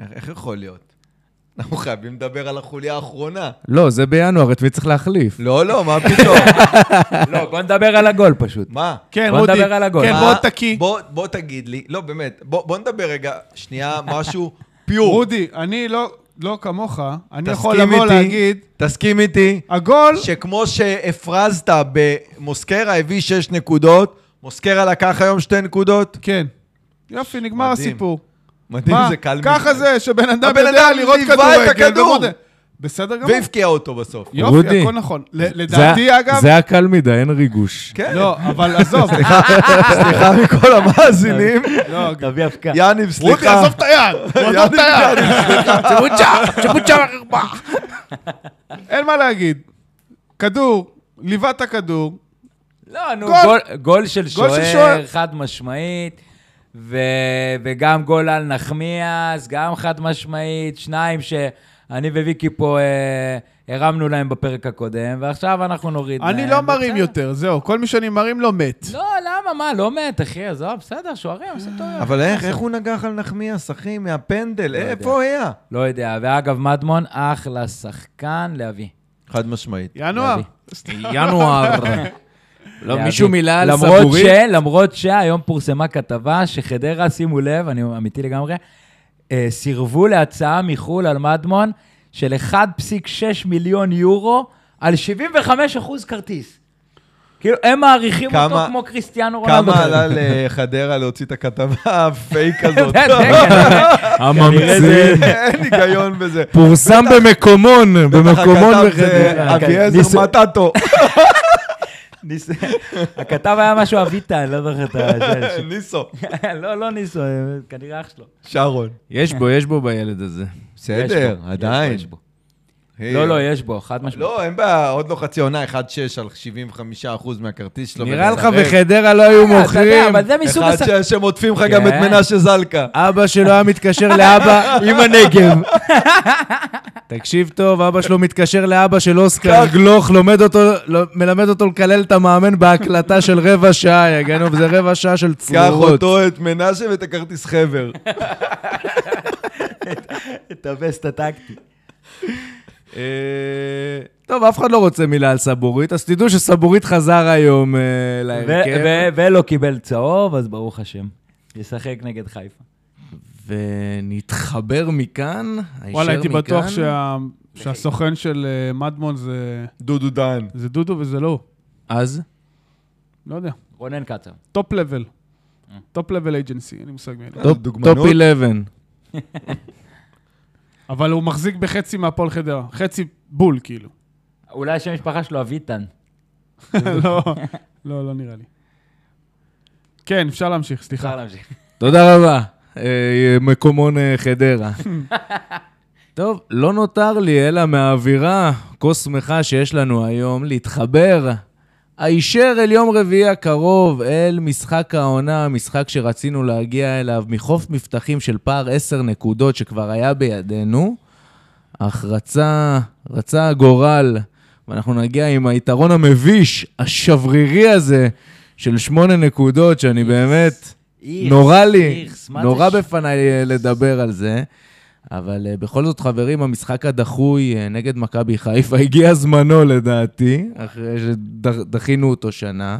איך איך יכול להיות? אנחנו חייבים לדבר על החוליה האחרונה.
לא, זה בינואר, את מי צריך להחליף?
לא, לא, מה פתאום?
לא, בוא נדבר על הגול פשוט.
מה?
כן,
בוא
רודי.
נדבר על הגול.
כן,
מה?
בוא תקיא.
בוא- בוא תגיד לי, לא, באמת, בוא בוא נדבר רגע, שנייה, משהו פיור.
רודי, אני לא- לא כמוך, אני
תסכים
יכול לבוא
איתי,
להגיד,
תסכים איתי,
הגול,
שכמו שהפרזת במוסקרה הביא שש נקודות, מוסקרה לקח היום שתי נקודות.
כן. יופי, נגמר
מדהים.
הסיפור.
מדהים, זה קל
ככה
מדי.
זה, שבן אדם
הבן
יודע
אדם
לראות
ליווה את
כדורגל.
הכדור.
ומודה. בסדר גמור.
והבקיע אותו בסוף.
יופי,
רודי.
הכל נכון. ל-
זה-
לדעתי, אגב...
זה היה קל מדי, אין ריגוש.
כן,
לא, אבל עזוב.
סליחה מכל המאזינים.
לא,
תביא הפקעה.
יניב,
רודי,
סליחה.
עזוב את היד. עזוב את היד. אין מה להגיד. כדור, ליווה את הכדור.
לא, נו,
גול.
גול, גול של
גול של
שוער,
שוער.
חד משמעית, ו, וגם גול על נחמיאס, גם חד משמעית, שניים שאני וויקי פה אה, הרמנו להם בפרק הקודם, ועכשיו אנחנו נוריד
אני
להם,
לא
בסדר.
מרים יותר, זהו. כל מי שאני מרים לו מת.
לא, למה? מה, לא מת, אחי, עזוב, בסדר, שוערים, עושים טוב.
אבל איך, איך הוא נגח על נחמיאס, אחי, מהפנדל? איפה היה?
לא יודע, ואגב, מדמון, אחלה שחקן להביא.
חד משמעית.
ינואר.
להביא.
ינואר. לא,
להביא.
מישהו מילה על
למרות
סבורית?
ש- למרות שהיום פורסמה כתבה שחדרה, שימו לב, אני אמיתי לגמרי, אה, סירבו להצעה מחו"ל על מדמון של 1.6 מיליון יורו על 75 אחוז כרטיס. כאילו, הם מעריכים אותו
כמה-
כמו קריסטיאנו רונלדו.
כמה עלה לחדרה להוציא את הכתבה הפייק הזאת? לא.
כן, כן, כן.
הממציא.
אין היגיון בזה.
פורסם במקומון, במקומון
הכתב זה
בחדרה.
כן,
אביעזר מטאטו.
ניס- הכתב היה משהו אביטן, לא זוכר את ה...
ניסו,
לא, לא ניסו, כנראה אח שלו.
שרון.
יש בו, יש בו בילד הזה.
בסדר,
יש בו,
עדיין.
יש בו,
היי.
לא, לא, יש בו, חד משמעית.
אה, לא, אין בעיה, עוד לא חצי עונה, 1-6 על 75% מהכרטיס שלו.
נראה לך
ולשחק.
בחדרה לא היו
אה, אתה יודע,
מוכרים.
אבל זה מסוג
אחד
השחקנים.
ש- שהם עוטפים לך גם את
כן.
מנשה זלקה.
אבא שלו היה מתקשר לאבא עם הנגב. תקשיב טוב, אבא שלו מתקשר לאבא של אוסקר
כך.
גלוך, לומד אותו, לא- מלמד אותו לקלל את המאמן בהקלטה של רבע שעה, יא גנוב, זה רבע שעה של
קח
צרורות.
אותו, את מנשה ואת הכרטיס חבר.
את הווסט הטקטי.
אה, טוב, אף אחד לא רוצה מילה על סבורית, אז תדעו שסבורית חזר היום אה,
ו-
להרכב.
ו- ולא קיבל צהוב, אז ברוך השם. ישחק נגד חיפה.
ונתחבר מכאן, הישר
וואלה, הייתי בטוח
מכאן.
שה- שהסוכן של אה, מדמון זה-
דודו דן.
זה דודו וזה לא הוא.
אז?
לא יודע.
רונן קצר.
טופ לבל.
אה.
טופ לבל אייג'נסי, אין לי מושג מי אלה.
טופ
דוגמנות.
טופ 11.
אבל הוא מחזיק בחצי מהפועל חדרה. חצי בול, כאילו.
אולי השם משפחה שלו אביטן.
לא, לא, לא נראה לי. כן, אפשר להמשיך,
אפשר
סליחה.
להמשיך.
תודה רבה, אה, מקומון אה, חדרה. טוב, לא נותר לי אלא מהאווירה כה שמחה שיש לנו היום להתחבר הישר אל יום רביעי הקרוב, אל משחק העונה, המשחק שרצינו להגיע אליו, מחוף מבטחים של פער עשר נקודות שכבר היה בידינו, אך רצה, רצה הגורל, ואנחנו נגיע עם היתרון המביש, השברירי הזה, של שמונה נקודות, שאני באמת...
איכס,
נורא לי,
איכס, מה זה
נורא
ש-
בפניי אה, לדבר על זה. אבל אה, בכל זאת, חברים, המשחק הדחוי אה, נגד מכבי חיפה הגיע זמנו לדעתי, אחרי שדחינו אותו שנה.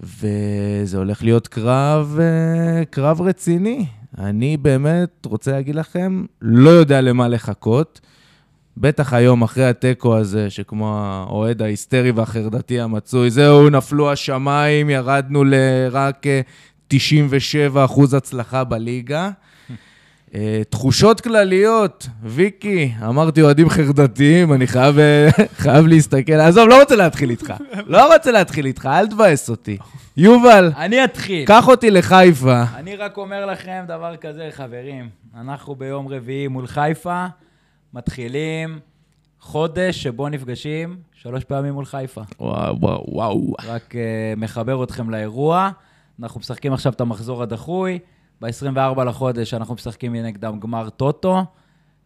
וזה הולך להיות קרב, אה, קרב רציני. אני באמת רוצה להגיד לכם, לא יודע למה לחכות. בטח היום, אחרי התיקו הזה, שכמו האוהד ההיסטרי והחרדתי המצוי, זהו, נפלו השמיים, ירדנו לרק אה, 97 אחוז הצלחה בליגה. אה, תחושות כלליות, ויקי, אמרתי אוהדים חרדתיים, אני חייב, אה, חייב להסתכל. עזוב, לא רוצה להתחיל איתך. לא רוצה להתחיל איתך, אל תבאס אותי. יובל,
אני אתחיל.
קח אותי לחיפה.
אני רק אומר לכם דבר כזה, חברים. אנחנו ביום רביעי מול חיפה, מתחילים חודש שבו נפגשים שלוש פעמים מול חיפה.
וואו, וואו, וואו.
רק אה, מחבר אתכם לאירוע. אנחנו משחקים עכשיו את המחזור הדחוי. ב-24 לחודש אנחנו משחקים נגדם גמר טוטו.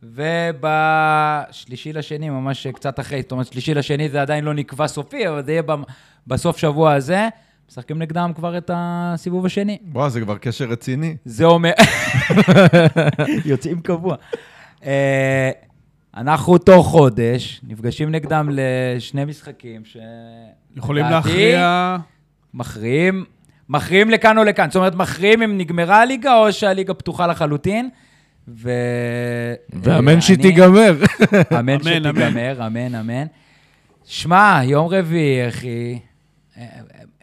ובשלישי לשני, ממש קצת אחרי, זאת אומרת, שלישי לשני זה עדיין לא נקבע סופי, אבל זה יהיה במ- בסוף שבוע הזה. משחקים נגדם כבר את הסיבוב השני.
וואו, זה כבר קשר רציני.
זה אומר... יוצאים קבוע. אה, אנחנו תוך חודש נפגשים נגדם לשני משחקים ש...
יכולים
לדעתי,
להכריע...
מכריעים, מכריעים לכאן או לכאן. זאת אומרת, מכריעים אם נגמרה הליגה או שהליגה פתוחה לחלוטין. ו...
ואמן
אני-
שהיא תיגמר.
אמן
אמן, אמן.
שתיגמר, אמן, אמן. שמע, יום רביעי, אחי. אה,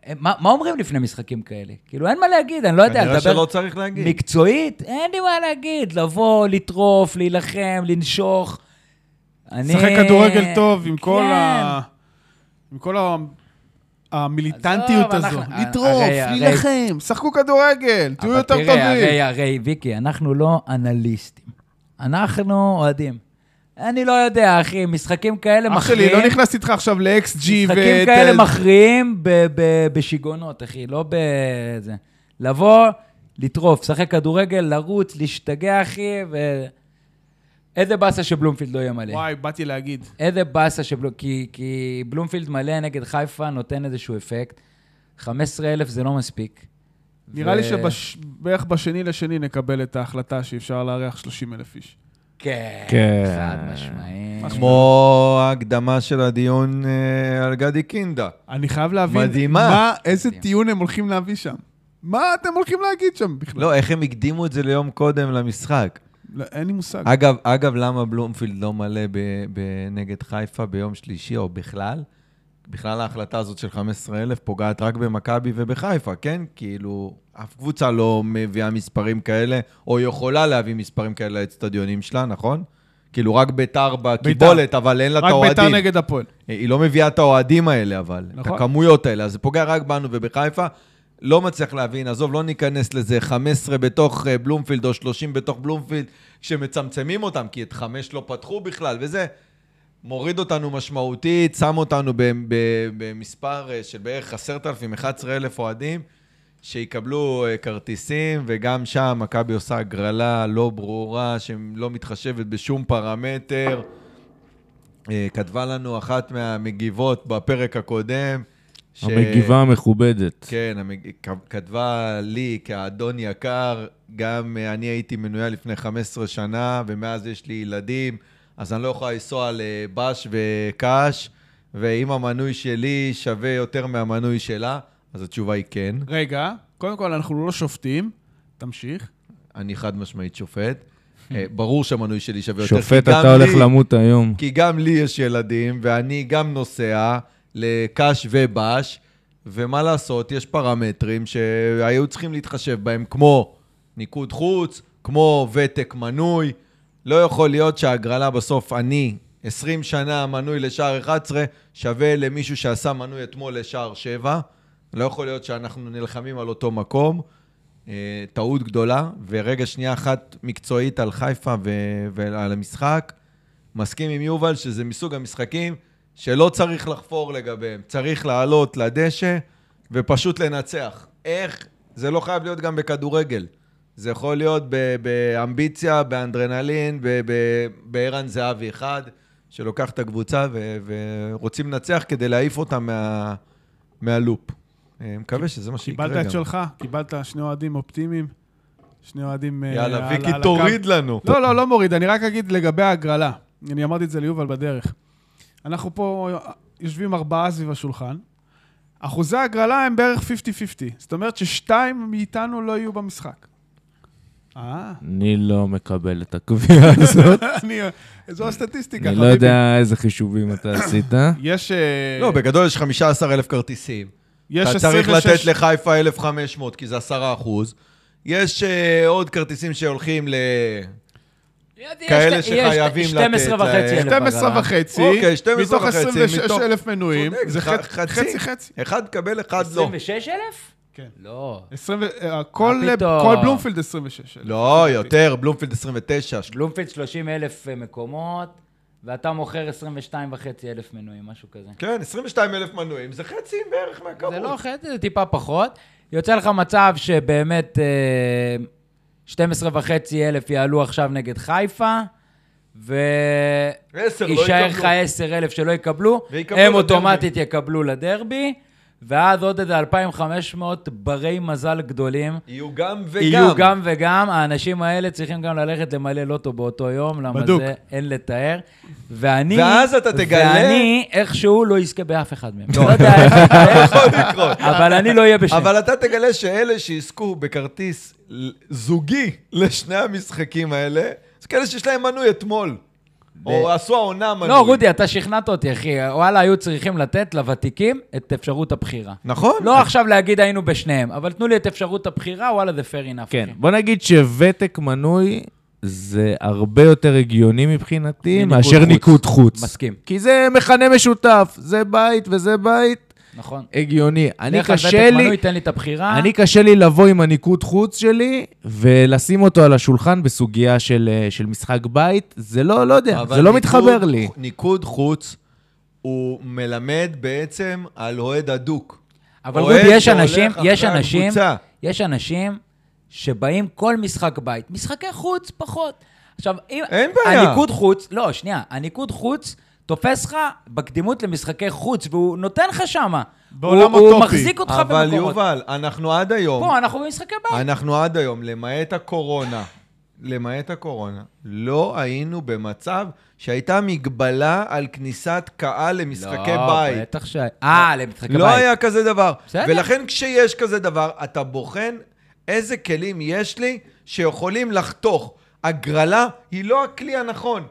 אה, מה מה אומרים לפני משחקים כאלה? כאילו, אין מה להגיד, אני לא יודע,
כנראה
לדבר
שלא צריך להגיד.
מקצועית, אין לי מה להגיד. לבוא, לטרוף, להילחם, לנשוך. אני...
לשחק כדורגל טוב עם כל
כן.
ה... עם כל ה... המיליטנטיות
עזוב,
הזו.
אנחנו-
לטרוף,
הרי- הרי-
להילחם, שחקו כדורגל, תהיו
אבל
יותר
תראה,
טובים.
הרי, הרי, ויקי, אנחנו לא אנליסטים. אנחנו אוהדים. אני לא יודע, אחי, משחקים כאלה
אח שלי,
מכריעים...
לא נכנס איתך עכשיו ל-XG ו...
משחקים
אה,
כאלה מכריעים ב- ב- בשיגעונות, אחי, לא בזה. לבוא, לטרוף, לשחק כדורגל, לרוץ, להשתגע, אחי, ו... איזה באסה שבלומפילד לא יהיה מלא.
וואי, באתי להגיד.
איזה באסה שבלו... כי, כי בלומפילד מלא נגד חיפה נותן איזשהו אפקט. 15,000 זה לא מספיק.
נראה לי שבערך בשני לשני נקבל את ההחלטה שאפשר לארח 30 אלף איש.
כן,
כן.
חד משמעית.
כמו ההקדמה של הדיון אה, על גדי קינדה.
אני חייב להבין...
מדהימה.
מה, איזה
מדהים.
טיעון הם הולכים להביא שם? מה אתם הולכים להגיד שם בכלל?
לא, איך הם הקדימו את זה ליום קודם למשחק.
לא, אין לי מושג.
אגב, אגב, למה בלומפילד לא מלא ב- ב- נגד חיפה ביום שלישי, או בכלל? בכלל ההחלטה הזאת של 15,000 פוגעת רק במכבי ובחיפה, כן? כאילו, אף קבוצה לא מביאה מספרים כאלה, או יכולה להביא מספרים כאלה לאצטדיונים שלה, נכון? כאילו, רק ביתר בקיבולת, אבל אין לה את
רק
האוהדים.
ביתר נגד הפועל.
היא לא מביאה את האוהדים האלה, אבל. נכון.
נכון.
את הכמויות האלה. אז זה פוגע רק בנו ובחיפה. לא מצליח להבין, עזוב, לא ניכנס לזה 15 בתוך אה, בלומפילד או 30 בתוך בלומפילד, כשמצמצמים אותם, כי את חמש לא פתחו בכלל, וזה מוריד אותנו משמעותית, שם אותנו ב- ב- במספר אה, של בערך 10,000, 11,000 אוהדים, שיקבלו אה, כרטיסים, וגם שם מכבי עושה הגרלה לא ברורה, שלא מתחשבת בשום פרמטר. אה, כתבה לנו אחת מהמגיבות בפרק הקודם. ש-
המגיבה המכובדת.
כן, המג... כ- כתבה לי כאדון יקר, גם אה, אני הייתי מנויה לפני 15 שנה, ומאז יש לי ילדים, אז אני לא יכולה לנסוע לבש וקש, ואם המנוי שלי שווה יותר מהמנוי שלה, אז התשובה היא כן.
רגע, קודם כל, אנחנו לא שופטים. תמשיך.
אני חד משמעית שופט. אה, ברור שהמנוי שלי שווה יותר. כי
שופט,
גם
אתה הולך
לי-
למות היום.
כי גם לי יש ילדים, ואני גם נוסע לקש ובש, ומה לעשות, יש פרמטרים שהיו צריכים להתחשב בהם, כמו ניקוד חוץ, כמו ותק מנוי. לא יכול להיות שההגרלה בסוף, אני, 20 שנה מנוי לשער 11, שווה למישהו שעשה מנוי אתמול לשער 7. לא יכול להיות שאנחנו נלחמים על אותו מקום. אה, טעות גדולה, ורגע שנייה אחת מקצועית על חיפה ו- ועל המשחק. מסכים עם יובל שזה מסוג המשחקים שלא צריך לחפור לגביהם, צריך לעלות לדשא ופשוט לנצח. איך? זה לא חייב להיות גם בכדורגל. זה יכול להיות ב- באמביציה, באנדרנלין, ב- ב- בערן זהבי אחד, שלוקח את הקבוצה ו- ורוצים לנצח כדי להעיף אותה מה- מהלופ. אה, מקווה שזה מה שיקרה גם.
קיבלת את שלך, קיבלת שני אוהדים אופטימיים. שני אוהדים... אה, על-
יאללה, ויקי,
על הקו.
תוריד לנו.
לא, לא, לא מוריד, אני רק אגיד לגבי ההגרלה. אני אמרתי את זה ליובל בדרך. אנחנו פה יושבים ארבעה סביב השולחן. אחוזי ההגרלה הם בערך 50-50. זאת אומרת ששתיים מאיתנו לא יהיו במשחק. אה,
אני לא מקבל את הקביעה הזאת.
אני... זו הסטטיסטיקה,
אני לא יודע איזה חישובים אתה עשית.
יש... אה,
לא, בגדול יש 15,000 כרטיסים.
יש
אתה צריך
26
לתת לחיפה 1,500, כי זה 10 אחוז. יש אה, עוד כרטיסים שהולכים ל...
יש-
כאלה
יש-
שחייבים
12
לתת אה,
וחצי
להם.
אלף
12
אגרה.
וחצי,
אוקיי, 12
מתוך
וחצי,
26
מתוך-
אלף מנויים,
צודק,
זה
ח-
חצי חצי. חצי.
אחד מקבל, אחד לא.
26 אלף?
כן.
לא.
עשרים ו- אה, כל
מה פתאום?
כל בלומפילד 26 אלף.
לא, יותר, בלומפילד 29. של-
בלומפילד 30 אלף אה, מקומות, ואתה מוכר 22 וחצי אלף מנויים, משהו כזה.
כן, 22 אלף מנויים, זה חצי בערך מהכמות.
זה לא חצי, זה טיפה פחות. יוצא לך מצב שבאמת אה, 12 וחצי אלף יעלו עכשיו נגד חיפה, ו...
עשר, לא
יישאר
יקבלו.
לך 10 אלף שלא יקבלו,
ויקבלו
הם
לדרבי.
אוטומטית יקבלו לדרבי, ואז עוד איזה 2,500 ברי מזל גדולים.
יהיו גם וגם.
יהיו גם וגם, האנשים האלה צריכים גם ללכת למלא לוטו באותו יום, למה
בדוק.
זה אין לתאר. ואני,
ואז אתה תגלה-
ואני איכשהו לא אזכה באף אחד מהם.
לא.
לא יודע איך זה יקרה,
יכול לקרות.
אבל אני לא אהיה בשם.
אבל אתה תגלה שאלה שיזכו בכרטיס ל- זוגי לשני המשחקים האלה, זה כאלה שיש להם מנוי אתמול. או עשו העונה מנוי.
לא, רודי, אתה שכנעת אותי, אחי. וואלה, היו צריכים לתת לוותיקים את אפשרות הבחירה.
נכון?
לא עכשיו להגיד היינו בשניהם, אבל תנו לי את אפשרות הבחירה, וואלה, זה fair enough.
כן,
אחי.
בוא נגיד שוותק מנוי זה הרבה יותר הגיוני מבחינתי
מניקוד
מאשר
חוץ.
ניקוד חוץ.
מסכים.
כי זה מכנה משותף, זה בית וזה בית,
נכון.
הגיוני. אני
לך על
קשה
ותק
לי,
מנוי, תן לי את הבחירה.
אני קשה לי לבוא עם הניקוד חוץ שלי ולשים אותו על השולחן בסוגיה של, אה, של משחק בית, זה לא, לא יודע,
אבל
זה לא
ניקוד-
מתחבר לי.
ניקוד חוץ הוא מלמד בעצם על אוהד אדוק.
אבל
אוהד
רודי, יש
שהולך
אנשים,
אחרי
יש אנשים,
הקבוצה.
יש אנשים שבאים כל משחק בית. משחקי חוץ פחות. עכשיו, אם...
אין בעיה.
הניקוד חוץ, לא, שנייה, הניקוד חוץ תופס לך בקדימות למשחקי חוץ, והוא נותן לך שמה.
בעולם
הוא, הוא
אוטופי.
מחזיק אותך במקומות.
אבל יובל, אנחנו עד היום,
פה, אנחנו במשחקי בית.
אנחנו עד היום, למעט הקורונה, למעט הקורונה, לא היינו במצב שהייתה מגבלה על כניסת קהל למשחקי
לא,
בית.
לא, בטח ש... אה, למשחקי
לא
בית.
היה כזה דבר.
בסדר.
ולכן כשיש כזה דבר, אתה בוחן איזה כלים יש לי שיכולים לחתוך. הגרלה היא לא הכלי הנכון.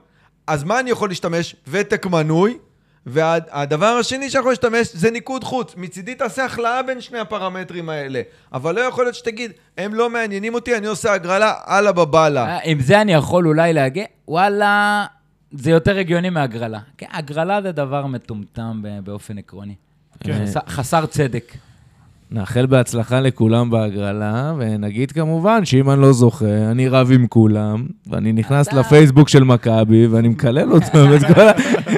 אז מה אני יכול להשתמש? ותק מנוי. והדבר השני שאני יכול להשתמש זה ניקוד חוץ. מצידי תעשה הכלאה בין שני הפרמטרים האלה. אבל לא יכול להיות שתגיד, הם לא מעניינים אותי, אני עושה הגרלה, אללה בבאללה.
אה, עם זה אני יכול אולי להגיד, וואלה, זה יותר הגיוני מהגרלה. כן, הגרלה זה דבר מטומטם ב- באופן עקרוני.
כן.
חסר- חסר צדק.
נאחל בהצלחה לכולם בהגרלה, ונגיד כמובן שאם אני לא זוכה, אני רב עם כולם, ואני נכנס לפייסבוק של מכבי, ואני מקלל אותם, את כל, ה-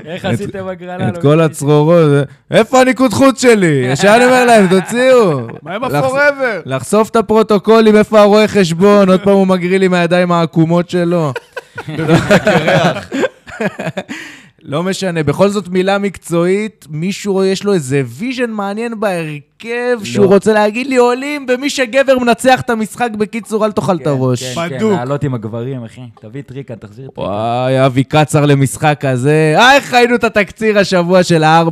איך
את-
עשיתם הגרלה? לא
את כל הצרורות, איפה הניקוד חוץ שלי? ישר אני אומר להם, תוציאו.
מה עם
לחס-
הפוראבר?
לחשוף את הפרוטוקולים, איפה הרואה חשבון, עוד פעם הוא מגריל עם הידיים העקומות שלו. לא משנה, בכל זאת מילה מקצועית, מישהו יש לו איזה ויז'ן מעניין בהרכב,
לא.
שהוא רוצה להגיד לי עולים, ומי שגבר מנצח את המשחק, בקיצור, אל תאכל את הראש.
כן, כן,
בדוק.
לעלות עם הגברים, אחי. תביא טריקה, תחזיר טריקה.
וואי, אבי קצר למשחק הזה. אה, איך ראינו את התקציר השבוע של ה-4-3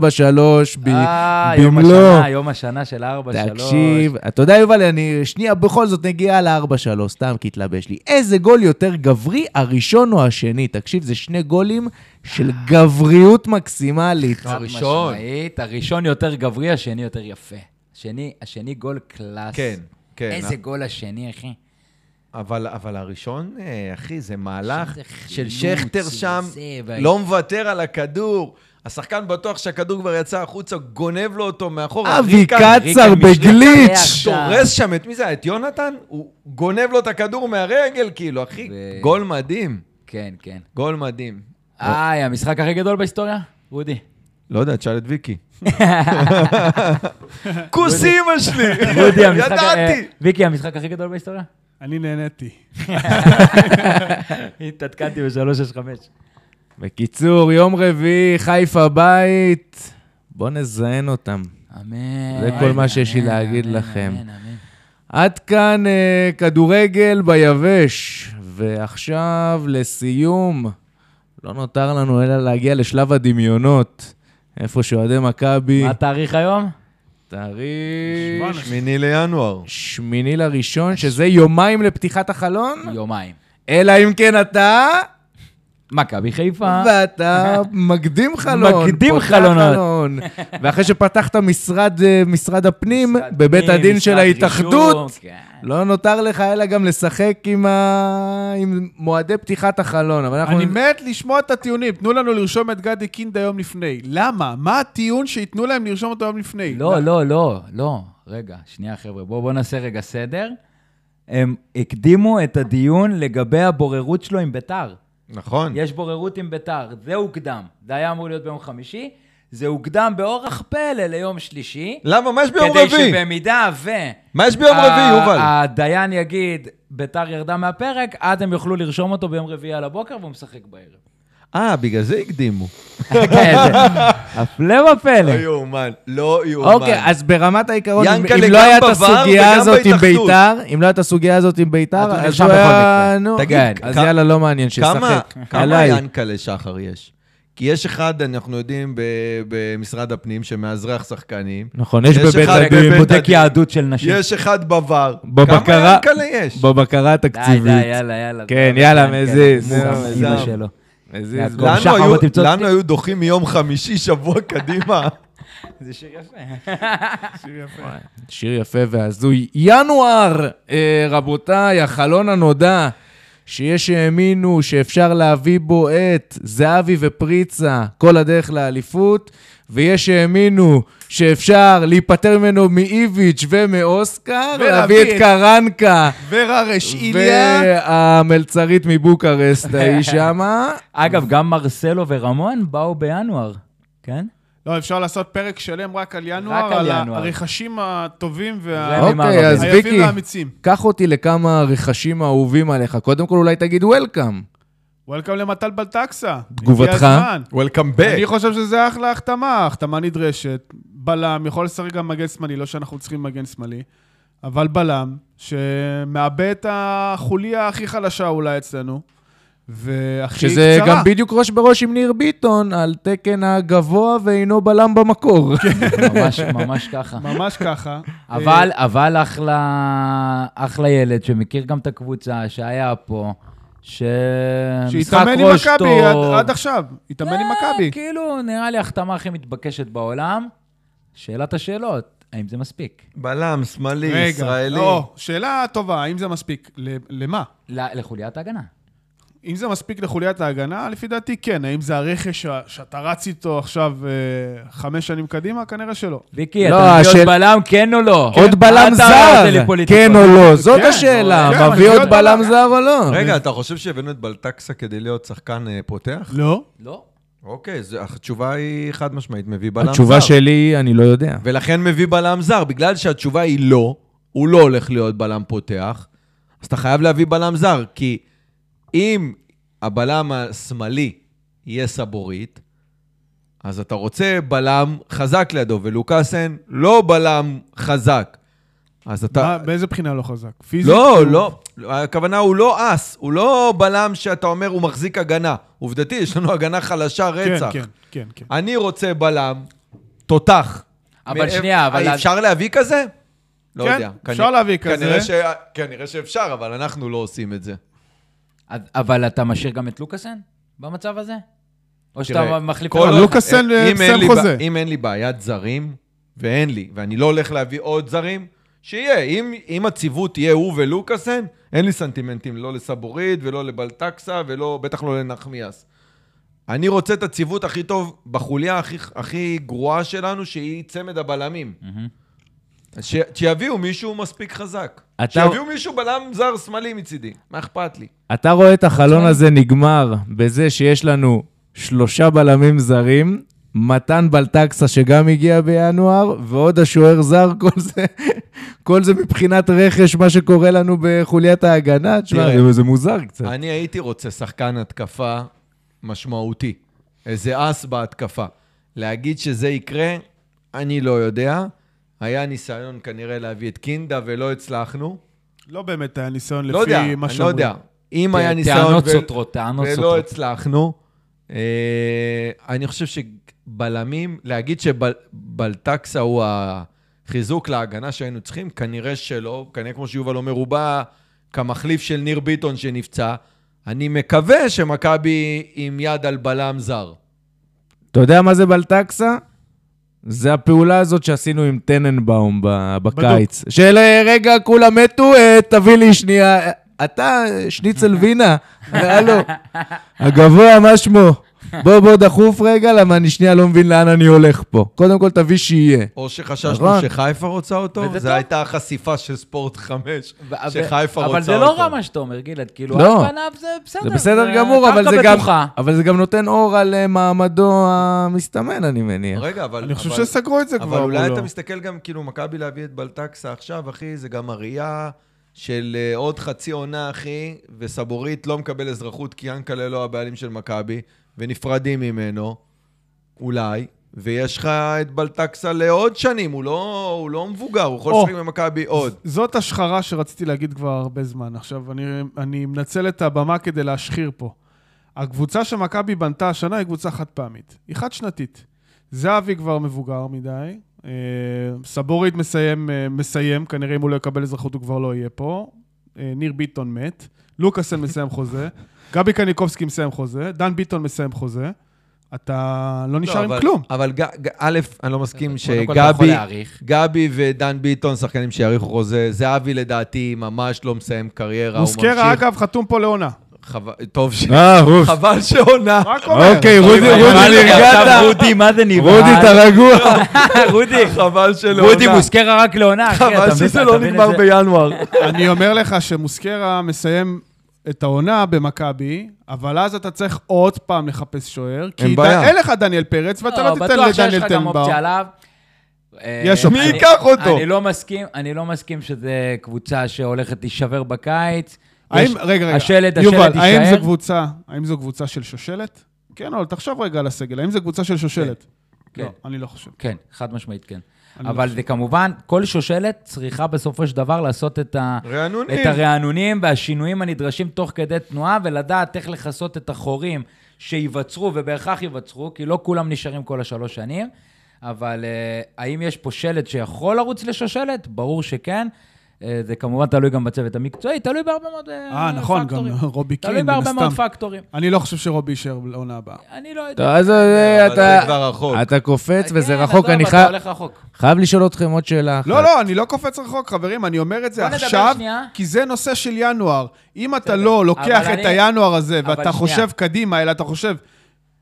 ב-
אה, יום
במלוא.
השנה, יום השנה של 4-3.
תקשיב, אתה יודע, יובל, אני שנייה בכל זאת נגיע ל-4-3, סתם כי התלבש לי. איזה גול יותר גברי, הראשון או השני? תקשיב, זה שני גולים של גבריות מקסימלית.
הראשון. הראשון יותר גברי, השני יותר יפה. השני, השני גול קלאס.
כן, כן.
איזה גול השני, אחי.
אבל, אבל הראשון, אה, אחי, זה מהלך
שזה חילוץ,
של שכטר
זה
שם,
זה,
לא מוותר על הכדור. השחקן בטוח שהכדור כבר יצא החוצה, גונב לו אותו מאחורה.
אבי
ריקן
קצר
ריקן משני
בגליץ'.
קרח.
דורס שם את מי זה היה? את יונתן? הוא גונב לו את הכדור מהרגל, כאילו, אחי,
ו-
גול מדהים.
כן, כן.
גול מדהים.
איי, המשחק הכי גדול בהיסטוריה? רודי.
לא יודע, תשאל את ויקי. כוס אימא שלי!
רודי, המשחק...
ידעתי!
אה, ויקי, המשחק הכי גדול בהיסטוריה?
אני נהניתי.
התעדכנתי ב-365.
בקיצור, יום רביעי, חיפה בית. בואו נזיין אותם.
אמן.
זה כל מה שיש לי
אמן,
להגיד
אמן,
לכם.
אמן, אמן.
עד כאן אה, כדורגל ביבש. ועכשיו, לסיום, לא נותר לנו אלא להגיע לשלב הדמיונות. איפה שאוהדי מכבי,
מה התאריך היום? אה,
תאריך
שמיני לינואר.
שמיני לראשון, שזה יומיים לפתיחת החלון,
יומיים.
אלא אם כן אתה
מכבי חיפה.
ואתה מקדים חלון.
מקדים
פותח
חלונות.
חלון. ואחרי שפתחת משרד, אה, משרד הפנים,
משרד
בבית
פנים,
הדין של
משרד
ההתאחדות,
רישום, כן.
לא נותר לך אלא גם לשחק עם, ה... עם מועדי פתיחת החלון. אבל אנחנו...
אני מת לשמוע את הטיעונים. תנו לנו לרשום את גדי קינד היום לפני. למה? מה הטיעון שייתנו להם לרשום אותו היום לפני?
לא, לא, לא, לא. רגע, שנייה, חבר'ה. בואו בוא נעשה רגע סדר. הם הקדימו את הדיון לגבי הבוררות שלו עם ביתר.
נכון.
יש בוררות עם ביתר, זה הוקדם. זה היה אמור להיות ביום חמישי, זה הוקדם באורח פלא ליום שלישי.
למה? מה יש ביום
כדי אה,
רביעי?
שבמידה ו...
מה יש ביום
ה-
רביעי, יובל?
הדיין יגיד, ביתר ירדה מהפרק, אז הם יוכלו לרשום אותו ביום רביעי על הבוקר והוא משחק בערב.
אה, בגלל זה הקדימו.
כן, זה- הפלא ופלא.
לא יאומן, לא יאומן.
אוקיי, אז ברמת העיקרון, אם
ינקלה
אם
גם
לא היה את
בVAR
הסוגיה
וגם
הזאת עם
בהתאחדות.
ביתר, אם לא היה את הסוגיה הזאת עם ביתר,
אז הוא
אז
נרשם
הוא
בכל
היה...
מקרה.
נו,
תגיד,
כן, אז
כמה-
יאללה, לא מעניין,
כמה,
שישחק.
כמה
עליי.
ינקלה שחר יש? כי יש אחד, אנחנו יודעים, ב- במשרד הפנים, שמאזרח שחקנים.
נכון, יש
יש
בבית
אחד
הדין,
בבית
בודק
הדין.
יהדות של נשים.
יש אחד בVAR. כמה
בבקרה,
ינקלה יש?
בבקרה
די, די,
התקציבית.
יאללה, יאללה.
כן, יעלה,
כן,
מזיז.
כן,
זהו,
אימא
זהו.
שלו.
מזיז,
גם
לנו
שחר
היו-
בוא תמצא אותי.
לנו היו דוחים מיום חמישי שבוע קדימה.
זה שיר יפה.
שיר יפה והזוי. ינואר, אה, רבותיי, החלון הנודע, שיש שהאמינו שאפשר להביא בו את זהבי ופריצה כל הדרך לאליפות, ויש שהאמינו שאפשר להיפטר ממנו מאיביץ' ומאוסקר,
ולהביא
ולהביא את
את-
קרנקה.
ורה רשיליה.
והמלצרית מבוקרשט ההיא שמה.
אגב, גם מרסלו ורמון באו בינואר, כן?
לא, אפשר לעשות פרק שלם רק על ינואר,
רק על
על
ינואר.
הרכשים הטובים
זה אני
אוקיי, אז
מערבים.
ויקי,
והיפים והאמיצים.
קח אותי לכמה רכשים האהובים עליך. קודם כל אולי תגיד וולקאם.
וולקאם למטל בלטקסה.
תגובתך?
הגיע הזמן.
Welcome
אני
back.
חושב שזה אחלה החתמה, החתמה נדרשת. בלם, יכול לשחק גם מגן שמאלי, לא שאנחנו צריכים מגן שמאלי, אבל בלם, שמאבד את החוליה הכי חלשה אולי אצלנו, והכי קצרה.
שזה גם בדיוק ראש בראש עם ניר ביטון, על תקן הגבוה ואינו בלם במקור.
ממש, ממש ככה.
ממש ככה.
אבל, אבל אחלה, אחלה ילד שמכיר גם את הקבוצה, שהיה פה, שמשחק
אה, שהתאמן עם
ראש טוב.
מכבי עד- עד עכשיו, התאמן עם
אה,
מכבי.
כאילו, נראה לי ההחתמה הכי מתבקשת בעולם. שאלת השאלות, האם זה מספיק?
בלם, שמאלי,
רגע,
ישראלי.
לא, שאלה טובה, האם זה מספיק? ל- למה?
ל- לחוליית ההגנה.
אם זה מספיק לחוליית ההגנה, לפי דעתי כן. האם זה הרכש ה- שאתה רץ איתו עכשיו אה, חמש שנים קדימה? כנראה שלא.
ויקי,
לא,
אתה מביא
השאל-
עוד בלם, כן או לא?
עוד בלם
אתה
זר,
עושה לי פוליטיקה.
כן או לא, זאת
כן, כן,
השאלה, מביא
אבל
עוד
זה
בלם
בלם.
זר או לא?
רגע, אתה חושב שהבאנו את בלטקסה כדי להיות שחקן אה, פותח?
לא.
לא.
אוקיי, זה- התשובה היא חד משמעית, מביא בלם זר.
התשובה שלי היא, אני לא יודע.
ולכן מביא בלם זר. בגלל שהתשובה היא לא, הוא לא הולך להיות בלם פותח, אז אתה חייב להביא בלם זר, כי אם הבלם השמאלי יהיה סבורית, אז אתה רוצה בלם חזק לידו, ולוקאסן לא בלם חזק. אז אתה...
מה- באיזה בחינה לא חזק? פיזית?
לא, לא, הכוונה הוא לא אס, הוא לא בלם שאתה אומר הוא מחזיק הגנה. עובדתי, יש לנו הגנה חלשה,
כן,
רצח.
כן, כן, כן.
אני רוצה בלם תותח.
אבל
מאיפה-
שנייה, אבל-
אה, אפשר להביא כזה? לא
כן,
יודע.
אפשר
כנראה-
להביא כזה.
כנראה ש- כנראה שאפשר, אבל אנחנו לא עושים את זה.
אז- אבל אתה משאיר גם את לוקאסן במצב הזה? או
תראה,
שאתה מחליף...
כל
אותו?
עוד-
לוקאסן,
אם אין
סיים
לי
חוזה.
ב- אם אין לי בעיית זרים, ואין לי, ואני לא הולך להביא עוד זרים, שיהיה. אם- אם הציוות תהיה הוא ולוקאסן, אין לי סנטימנטים לא לסבורית ולא לבלטקסה ולא, בטח לא לנחמיאס. אני רוצה את הציוות הכי טוב בחוליה הכי, הכי גרועה שלנו, שהיא צמד הבלמים.
מהמם.
ש... שיביאו מישהו מספיק חזק.
אתה-
שיביאו מישהו בלם זר שמאלי מצידי, מה אכפת לי?
אתה רואה את החלון הזה נגמר בזה שיש לנו שלושה בלמים זרים, מתן בלטקסה שגם הגיע בינואר, ועוד השוער זר, כל זה, כל זה מבחינת רכש, מה שקורה לנו בחוליית ההגנה. תשמע,
תראה.
זה- זה מוזר
כן.
קצת.
אני הייתי רוצה שחקן התקפה משמעותי, איזה אס בהתקפה. להגיד שזה יקרה, אני לא יודע. היה ניסיון כנראה להביא את קינדה ולא הצלחנו.
לא באמת היה ניסיון
לא
לפי
יודע,
מה
אני לא
שאומרים.
יודע. אם
ט-
היה ניסיון...
טענות
ו-
סותרות, טענות
ולא
סותרות.
הצלחנו. אה, אני חושב שבלמים, להגיד שבלטקסה הוא החיזוק להגנה שהיינו צריכים, כנראה שלא. כנראה, כמו שיובל אומר, הוא בא כמחליף של ניר ביטון שנפצע, אני מקווה שמכבי עם יד על בלם זר.
אתה יודע מה זה בלטקסה? זה הפעולה הזאת שעשינו עם טננבאום ב- בקיץ. של אה, רגע, כולם מתו, אה, תביא לי שנייה. אה, אתה אה, שניצל וינה, הלו. הגבוה, מה שמו? בוא, בוא, דחוף רגע, למה אני שנייה לא מבין לאן אני הולך פה. קודם כל, תביא שיהיה.
או שחששנו
נכון.
שחיפה רוצה
וזה
אותו,
טוב.
זו הייתה החשיפה של ספורט 5,
ו-
שחיפה רוצה אותו.
אבל זה לא רע מה שאתה אומר, גלעד. כאילו,
לא.
על פניו זה בסדר.
זה בסדר גמור, אבל זה
קרקע
גם...
בטוחה.
אבל זה גם נותן אור על אה, מעמדו המסתמן, אני מניח.
רגע, אבל...
אני חושב
אבל-
שסגרו את זה כבר. לא.
אבל אולי
מולו.
אתה מסתכל גם, כאילו, מכבי להביא את בלטקסה עכשיו, אחי, זה גם הראייה של אה, עוד חצי עונה, אחי, וסבורית לא מקבל אזרחות כי ינקלה לא הבעלים של מכבי, ונפרדים ממנו, אולי, ויש לך את בלטקסה לעוד שנים, הוא לא, הוא לא מבוגר, הוא יכול
או.
לשחק במכבי עוד.
זאת השחרה שרציתי להגיד כבר הרבה זמן. עכשיו, אני, אני מנצל את הבמה כדי להשחיר פה. הקבוצה שמכבי בנתה השנה היא קבוצה חד פעמית. היא חד שנתית. זהבי כבר מבוגר מדי, אה, סבורית מסיים, אה, מסיים, כנראה אם הוא לא יקבל אזרחות הוא כבר לא יהיה פה. אה, ניר ביטון מת, לוקאסן מסיים חוזה, גבי קניקובסקי מסיים חוזה, דן ביטון מסיים חוזה. אתה לא נשאר
לא,
עם
אבל-
כלום.
אבל ג- ג- א', אני לא מסכים
קודם כל, אתה יכול
שגבי...
להעריך.
גבי ודן ביטון, שחקנים שיעריכו חוזה. זהבי לדעתי ממש לא מסיים קריירה, הוא ממשיך.
מוסקרה, אגב, חתום פה לעונה.
חבל- טוב ש...
אה, רוס.
חבל שעונה.
רק אומר.
אוקיי, רודי, רודי,
עכשיו
נרגעת.
רודי, מה זה נראה?
רודי, אתה רגוע.
לא,
רודי, חבל שלא
רודי מוסקרה רק לעונה, אחי. אתה
חבל
מבין-
שזה
אתה
לא
מבין את
נגמר
זה?
בינואר.
אני אומר לך שמוסקרה מסיים את העונה במכבי, אבל אז אתה צריך עוד פעם לחפש שוער, כי
אין
ד-
בעיה.
אין לך דניאל פרץ, ואתה לא תיתן
בטוח שיש
לדניאל
לך גם אופציה
טנבאום.
עליו.
יש
אה,
אופציה.
מי
אני-
ייקח אותו?
אני לא מסכים, אני לא מסכים שזה קבוצה שהולכת להישבר בקיץ.
האם,
יש-
רגע, רגע,
השלד,
יובל,
השלד
האם זו
יישאר.
קבוצה, האם זו קבוצה של שושלת? כן, אבל תחשוב רגע על הסגל, האם זו קבוצה של שושלת?
כן.
לא, אני לא חושב.
כן, חד משמעית כן.
אני
אבל
לא
זה כמובן, כל שושלת צריכה בסופו של דבר לעשות את ה...
רענונים.
את הרענונים והשינויים הנדרשים תוך כדי תנועה, ולדעת איך לכסות את החורים שייווצרו, ובהכרח ייווצרו, כי לא כולם נשארים כל השלוש שנים. אבל אה, האם יש פה שלט שיכול לרוץ לשושלת? ברור שכן. אה, זה כמובן תלוי גם בצוות המקצועי, תלוי בהרבה מאוד אה,
אה, נכון, גם
פקטורים.
רובי
תלוי
קין, מן
בהרבה
הסתם.
מאוד פקטורים.
אני לא חושב שרובי יישאר לעונה הבאה.
אני לא
טוב,
יודע.
אז אה,
אבל זה
אתה...
כבר רחוק.
אתה קופץ וזה
כן,
רחוק,
עזוב,
אני
אתה
חייב-
הולך רחוק.
חייב לשאול אתכם עוד שאלה אחת.
לא, לא, אני לא קופץ רחוק, חברים, אני אומר את זה
בוא נדבר
עכשיו,
שנייה.
כי זה נושא של ינואר. אם אתה
בסדר,
לא
אבל
לוקח את
אני-
הינואר הזה,
אבל
ואתה
שנייה.
חושב קדימה, אלא אתה חושב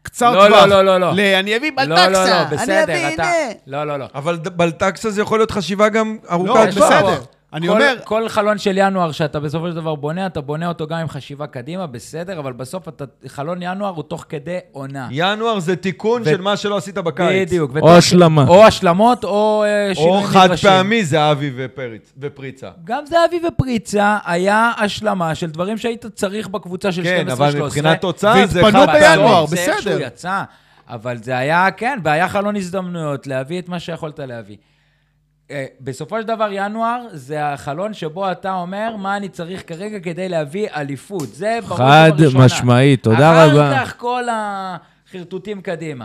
קצר
לא,
טווח,
לא, לא, לא, לא.
ל- אני אביא
לא, לא, לא,
בלטקסה, אני
בסדר,
אביא,
אתה...
הנה.
לא, לא, לא.
אבל ד- בלטקסה זה יכול להיות חשיבה גם
לא,
ארוכת
יש
טווח.
בסדר.
פה-
אני
כל-
אומר,
כל חלון של ינואר שאתה בסופו של דבר בונה, אתה בונה אותו גם עם חשיבה קדימה, בסדר, אבל בסוף אתה- חלון ינואר הוא תוך כדי עונה.
ינואר זה תיקון
ו-
של מה שלא עשית בקיץ.
בדיוק. ותוך-
או השלמה.
או השלמות, או אה,
או
שינויים נדרשים.
חד פעמי זה אבי ופריץ- ופריצה.
גם זהבי ופריצה היה השלמה של דברים שהיית צריך בקבוצה של 12-13.
כן, אבל מבחינת תוצאה זה
והתפנו
חד
בסוף
בינואר,
זה איכשהו
בסדר.
יצא, אבל זה היה, כן, והיה חלון הזדמנויות להביא את מה שיכולת להביא. אה, בסופו של דבר, ינואר זה החלון שבו אתה אומר מה אני צריך כרגע כדי להביא אליפות. זה ברור
חד
ובראשונה.
משמעית, תודה רבה.
אחר כך כל החרטוטים קדימה.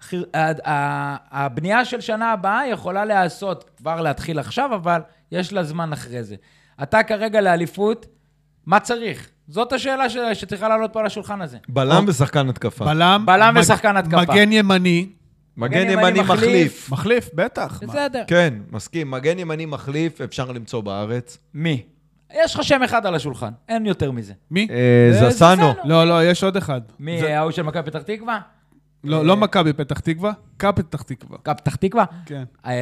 חיר- ה- ה- הבנייה של שנה הבאה יכולה להיעשות, כבר להתחיל עכשיו, אבל יש לה זמן אחרי זה. אתה כרגע לאליפות, מה צריך? זאת השאלה ש- שצריכה לעלות פה על השולחן הזה.
בלם ושחקן התקפה.
בלם,
בלם
מג-
ושחקן התקפה.
מגן ימני,
מגן ימני מחליף.
מחליף, בטח. מה?
בסדר.
כן, מסכים. מגן ימני מחליף אפשר למצוא בארץ.
מי? יש לך שם אחד על השולחן, אין יותר מזה.
מי?
אה,
אה,
זסנו.
זסנו.
לא, לא, יש עוד אחד.
מי, אה,
זה-
ההוא של מכבי פתח תקווה?
לא,
אה.
לא מכבי פתח תקווה, קאפ פתח תקווה.
מכבי פתח תקווה?
כן.
אה,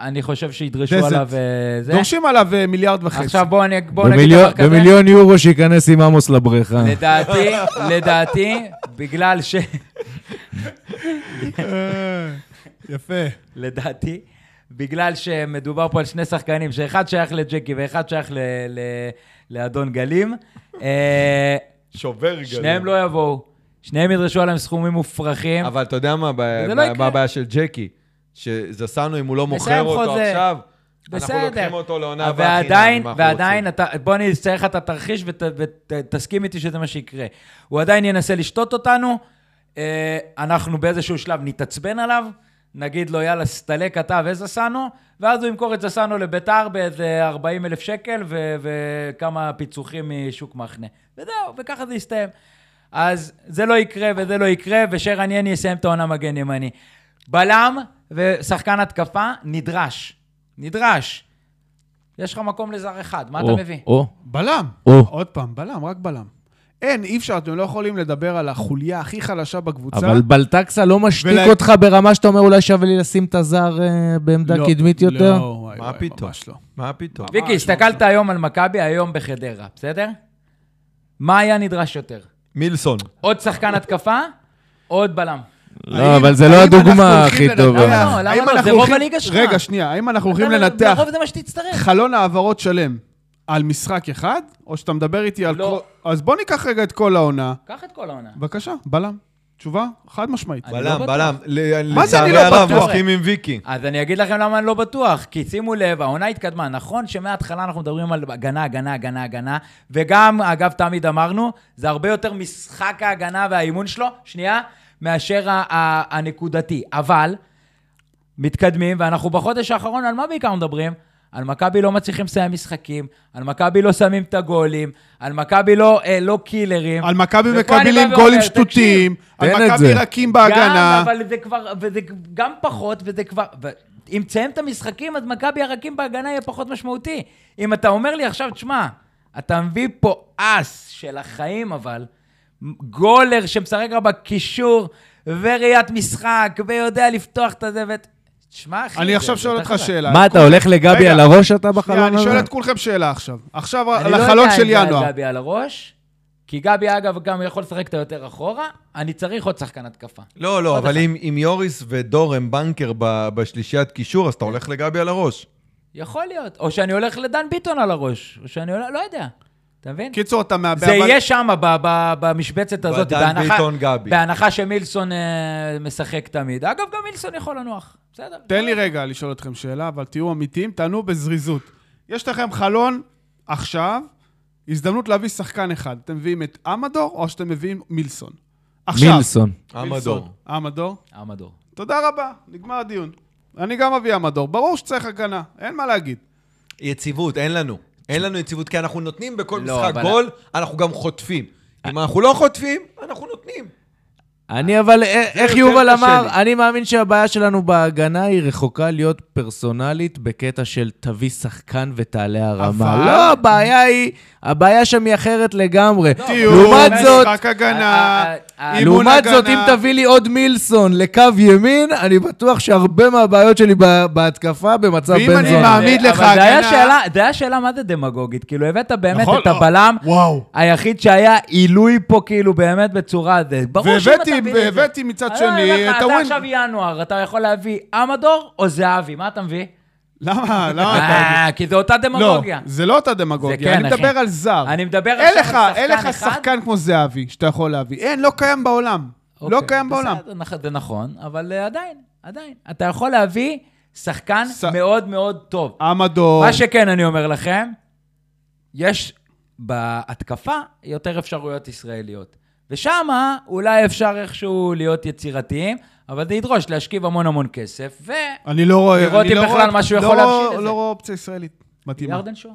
אני חושב שידרשו
דזרט.
עליו אה, זה.
דורשים עליו אה, מיליארד וחצי.
עכשיו בואו נגיד
במיליון- במיליון יורו שייכנס עם עמוס לבריכה.
לדעתי, לדעתי, בגלל ש...
אה, יפה.
לדעתי, בגלל שמדובר פה על שני שחקנים, שאחד שייך לג'קי ואחד שייך ל- ל- לאדון גלים, אה,
שובר גדול.
שניהם לא יבואו. שניהם ידרשו עליהם סכומים מופרכים.
אבל אתה יודע מה הבעיה-
וזה כן. לא
מה-
יקרה.
מה הבעיה של ג'קי? שזסנו, אם הוא לא מוכר
מסיים
אותו
חוזה.
עכשיו,
אה, בסדר.
אנחנו לוקחים אותו לעונה הבאה
ועדיין,
חינם. מה אנחנו
ועדיין,
רוצים?
אתה, בוא אני אצייר לך את התרחיש ותסכים איתי שזה מה שיקרה. הוא עדיין ינסה לשתות אותנו, אה, אנחנו באיזשהו שלב נתעצבן עליו, נגיד לו, יאללה, סטלק אתה וזסנו, ואז הוא ימכור את זסנו לביתר באיזה 40 אלף שקל ו- וכמה פיצוחים משוק מחנה. וזהו, וככה זה יסתיים. אז זה לא יקרה וזה לא יקרה, ושרן יני יסיים את העונה מגן ימני. בלם ושחקן התקפה נדרש. נדרש. יש לך מקום לזר אחד, מה
או,
אתה מביא?
או,
בלם.
או.
עוד פעם, בלם, רק בלם. אין, אי אפשר, אתם לא יכולים לדבר על החוליה הכי חלשה בקבוצה.
אבל בלטקסה לא משתיק
ולה-
אותך ברמה שאתה אומר, אולי שווה לי לשים את הזר אה, בעמדה
לא,
קדמית יותר?
לא, וואי,
מה
וואי,
פתאום?
ממש לא.
מה פתאום?
ממש
ויקי, הסתכלת היום על מכבי, היום בחדרה, בסדר? מה היה נדרש יותר?
מילסון.
עוד שחקן התקפה? עוד בלם.
לא, אבל זה לא
האם אנחנו
הדוגמה הכי
הולכים לנתח-
טובה.
לא, למה
האם
לא? זה
אנחנו
רוב
הולכים-
הליגה שלך.
רגע, שנייה, האם אנחנו הולכים
אתה-
לנתח
לרוב זה מה שתצטרך.
חלון העברות שלם על משחק אחד, או שאתה מדבר איתי על...
לא.
כל- אז בוא ניקח רגע את כל העונה.
קח את כל העונה.
בבקשה, בלם. תשובה חד משמעית.
אני לא
בלם,
בטוח.
בלם. ל-
מה זה אני
לצערי
לא
הרב,
בטוח?
מסכים עם ויקי.
אז אני אגיד לכם למה אני לא בטוח, כי שימו לב, העונה התקדמה. נכון שמההתחלה אנחנו מדברים על הגנה, הגנה, הגנה, הגנה, וגם, אגב, תמיד אמרנו, זה הרבה יותר משחק ההגנה והאימון שלו, שנייה, מאשר ה- ה- הנקודתי. אבל, מתקדמים, ואנחנו בחודש האחרון, על מה בעיקר מדברים? על מכבי לא מצליחים לסיים משחקים, על מכבי לא שמים את הגולים, על מכבי לא, אה, לא קילרים.
על מכבי
ופה אני
מקבלים
בא ואומר,
גולים
תקשיב,
שטותיים, על
תן את
מכבי
זה.
רכים
גם,
בהגנה.
אבל זה כבר, וזה גם פחות, וזה כבר... ו... אם תסיים את המשחקים, אז מכבי הרקים בהגנה יהיה פחות משמעותי. אם אתה אומר לי עכשיו, תשמע, אתה מביא פה אס של החיים, אבל גולר שמשחק רק בקישור, וראיית משחק, ויודע לפתוח את הזה, ו... תשמע, אחי...
אני
זה-
עכשיו
זה
שואל
יותר
אותך
חזק.
שאלה.
מה, אתה הולך לגבי
רגע,
על הראש אתה בחלון
שנייה,
הזה?
אני שואל את כולכם שאלה עכשיו. עכשיו
אני
על
לא
החלון
יודע אם
של
זה על
ינואר.
גבי על הראש, כי גבי, אגב, גם יכול לשחק קצת יותר אחורה, אני צריך עוד שחקן התקפה.
לא, לא,
עוד
אבל
אחד.
אם אם יוריס ודור הם בנקר ב- בשלישיית קישור, אז אתה הולך לגבי על הראש.
יכול להיות. או שאני הולך לדן ביטון על הראש, או שאני הולך, לא יודע. אתה מבין?
קיצור, אתה מאבד...
זה
כן, אבל-
יהיה שם, ב- ב- במשבצת הזאת,
בדן
בהנחה-
ביטון, גבי.
בהנחה שמילסון אה, משחק תמיד. אגב, גם מילסון יכול לנוח. בסדר.
תן לי רגע לשאול אתכם שאלה, אבל תהיו אמיתיים, תענו בזריזות. יש לכם חלון עכשיו, הזדמנות להביא שחקן אחד. אתם מביאים את אמדור, או שאתם מביאים מילסון? עכשיו.
מילסון.
המדור.
אמדור.
עמדור.
תודה רבה, נגמר הדיון. אני גם אביא אמדור. ברור שצריך הגנה, אין מה להגיד.
יציבות, אין לנו. אין לנו יציבות, כי אנחנו נותנים בכל
לא,
משחק
אבל-
גול, אנחנו גם חוטפים. אם אנחנו לא חוטפים, אנחנו נותנים.
אני אבל, אה, איך
יותר
יובל
קשה
אמר,
לי.
אני מאמין שהבעיה שלנו בהגנה היא רחוקה להיות פרסונלית בקטע של תביא שחקן ותעלה הרמה.
אבל-
לא, הבעיה היא, הבעיה שם היא אחרת לגמרי.
טיול,
לעומת זאת,
לא משחק
אה,
הגנה,
לא, אה, אה,
אימון
לעומת
הגנה.
זאת, אם תביא לי עוד מילסון לקו ימין, אני בטוח שהרבה מהבעיות שלי ב- בהתקפה במצב
ואם
בן
אני
זונה.
מאמין- מעמיד
לא, אבל
לך
זה היה
הגנה.
שאלה- זה היה שאלה מה זה דמגוגית. כאילו, הבאת באמת
נכון,
את
לא.
הבלם
וואו.
היחיד שהיה עילוי פה, כאילו, באמת בצורה... זה- ברור שאם אתה
והבאתי-
מביא לי את זה.
והבאתי מצד
אני
שני
אומר לך,
את
אתה
הווין.
עכשיו ינואר, אתה יכול להביא עמדור או זהבי, מה אתה מביא?
למה? למה אתה...
אה, כי זה אותה
לא,
דמגוגיה.
זה לא אותה
זה כן,
דמגוגיה, אני
אחי.
מדבר על זר.
אני מדבר עכשיו
אין
על
לך-
שחקן
אין לך
אחד.
שחקן כמו זהבי שאתה יכול להביא. אין, לא קיים בעולם. לא
אוקיי,
קיים בעולם.
בסדר, נכ- זה נכון, אבל אה, עדיין, עדיין. אתה יכול להביא שחקן
ס- אה, אוקיי.
מאוד מאוד טוב.
עמדו,
מה שכן, אני אומר לכם, יש בהתקפה יותר אפשרויות ישראליות. ושם אולי אפשר איכשהו להיות יצירתיים, אבל זה ידרוש להשכיב המון המון כסף,
אני לא רואה...
לראות
אני
אם
לא
בכלל
רואה-
משהו
לא
יכול
רואה-
להבשיל את זה.
לא רואה אופציה ישראלית מתאימה.
וירדן שואה.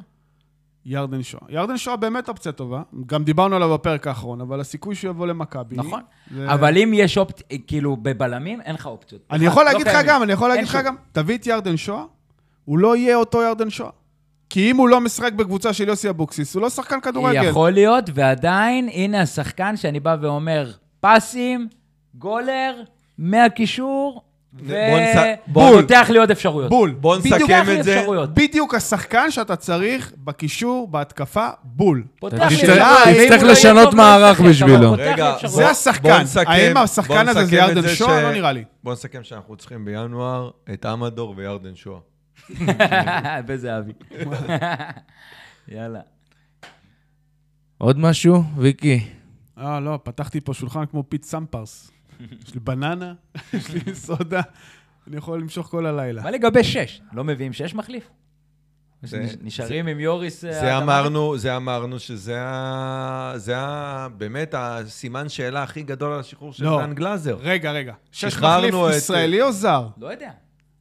ירדן שואה. ירדן שואה באמת אופציה טובה. גם דיברנו עליו בפרק האחרון, אבל הסיכוי שהוא יבוא למכבי...
נכון.
זה-
אבל אם יש אופציות, כאילו, בבלמים אין לך אופציות.
אני יכול
לא
להגיד לך
קיימים.
גם, אני יכול
אין
להגיד לך
שום.
גם, תביא את ירדן שואה, הוא לא יהיה אותו ירדן שואה. כי אם הוא לא משחק בקבוצה של יוסי אבוקסיס, הוא לא שחקן כדורגל.
יכול להיות, ועדיין, הנה השחקן שאני בא ואומר, פסים, גולר, מהקישור,
בוא נס-
בול.
ופותח לי עוד אפשרויות.
בול.
בוא
בדיוק
נסכם
כך לי
את זה.
אפשרויות.
בדיוק השחקן שאתה צריך בקישור, בהתקפה, בול.
פותח לי
תגיד, תצטרך-
אפשרויות. אם הוא לא
תצטרך
יהיה
לשנות
טוב,
מערך
לא ישחק,
בשבילו.
אבל פותח לי
רגע,
אפשרויות.
זה
בוא-
השחקן.
בוא נסכם-
האם
בוא
השחקן הזה זה
נסכם
ירדן
את זה
שואה? לא נראה לי.
בוא נסכם שאנחנו צריכים בינואר את אמדור וירדן שואה.
בזהבי. יאללה.
עוד משהו, ויקי?
אה, לא, פתחתי פה שולחן כמו פיט סמפרס. יש לי בננה, יש לי סודה, אני יכול למשוך כל הלילה.
מה לגבי שש? לא מביאים שש מחליף? נשארים עם יוריס... אה,
זה
אדמרי?
אמרנו, זה אמרנו שזה ה... זה ה... באמת הסימן שאלה הכי גדול על השחרור של
לא.
דן גלאזר.
רגע, רגע. שש
שחררנו
מחליף
את-
ישראלי או זר?
לא יודע.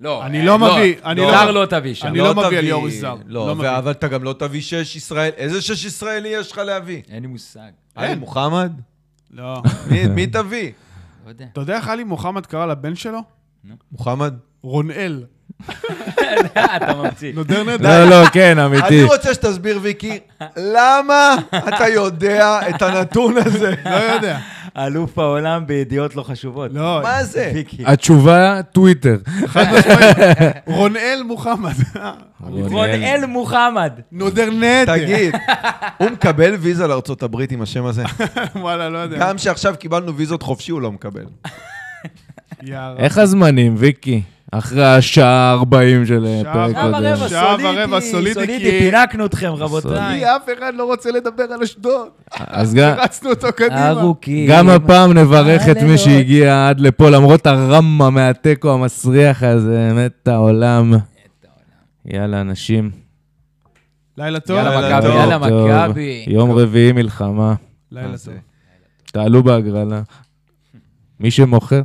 לא,
אני
אה,
לא מביא, אני
לא...
לא-
זר לא תביא שם.
אני לא מביא
תביא-
על יורי זר.
לא,
לא
ו-
מביא.
אבל אתה גם לא תביא שש ישראל... איזה שש ישראלי יש לך להביא?
אין לי מושג.
עלי מוחמד?
לא.
מי- מי תביא?
לא יודע.
אתה יודע איך עלי מוחמד קרא לבן שלו?
מוחמד?
רונאל.
אתה ממציא.
נודר נדר.
לא, לא, כן, אמיתי.
אני רוצה שתסביר, ויקי, למה אתה יודע את הנתון הזה?
לא יודע.
אלוף העולם בידיעות לא חשובות.
לא,
מה זה?
ויקי.
התשובה, טוויטר.
רונאל מוחמד.
רונאל מוחמד.
נודר נדר.
תגיד, הוא מקבל ויזה לארה"ב עם השם הזה.
וואלה, לא יודע.
גם שעכשיו קיבלנו ויזות חופשי, הוא לא מקבל.
יאללה.
איך הזמנים, ויקי? אחרי השעה 40 של אה,
שעה
פרק
שעה
קודם.
ורבע
שעה ורבע,
סולידי,
סולידי,
סולידי,
כי-
פינקנו אתכם, רבותיי.
סולידי.
אף אחד לא רוצה לדבר על אשדוד.
אז
אה.
גם-
רצנו אותו
ארוכים.
גם הפעם נברך את
הלילות.
מי שהגיע עד לפה, למרות הרמה מהתיקו המסריח הזה, מת העולם. יאללה, אנשים.
לילה טוב.
יאללה
יאללה,
מכבי,
טוב,
יאללה
טוב.
מכבי.
יום רביעי מלחמה.
לילה
אז, אה,
טוב.
תעלו בהגרלה. מי שמוכר.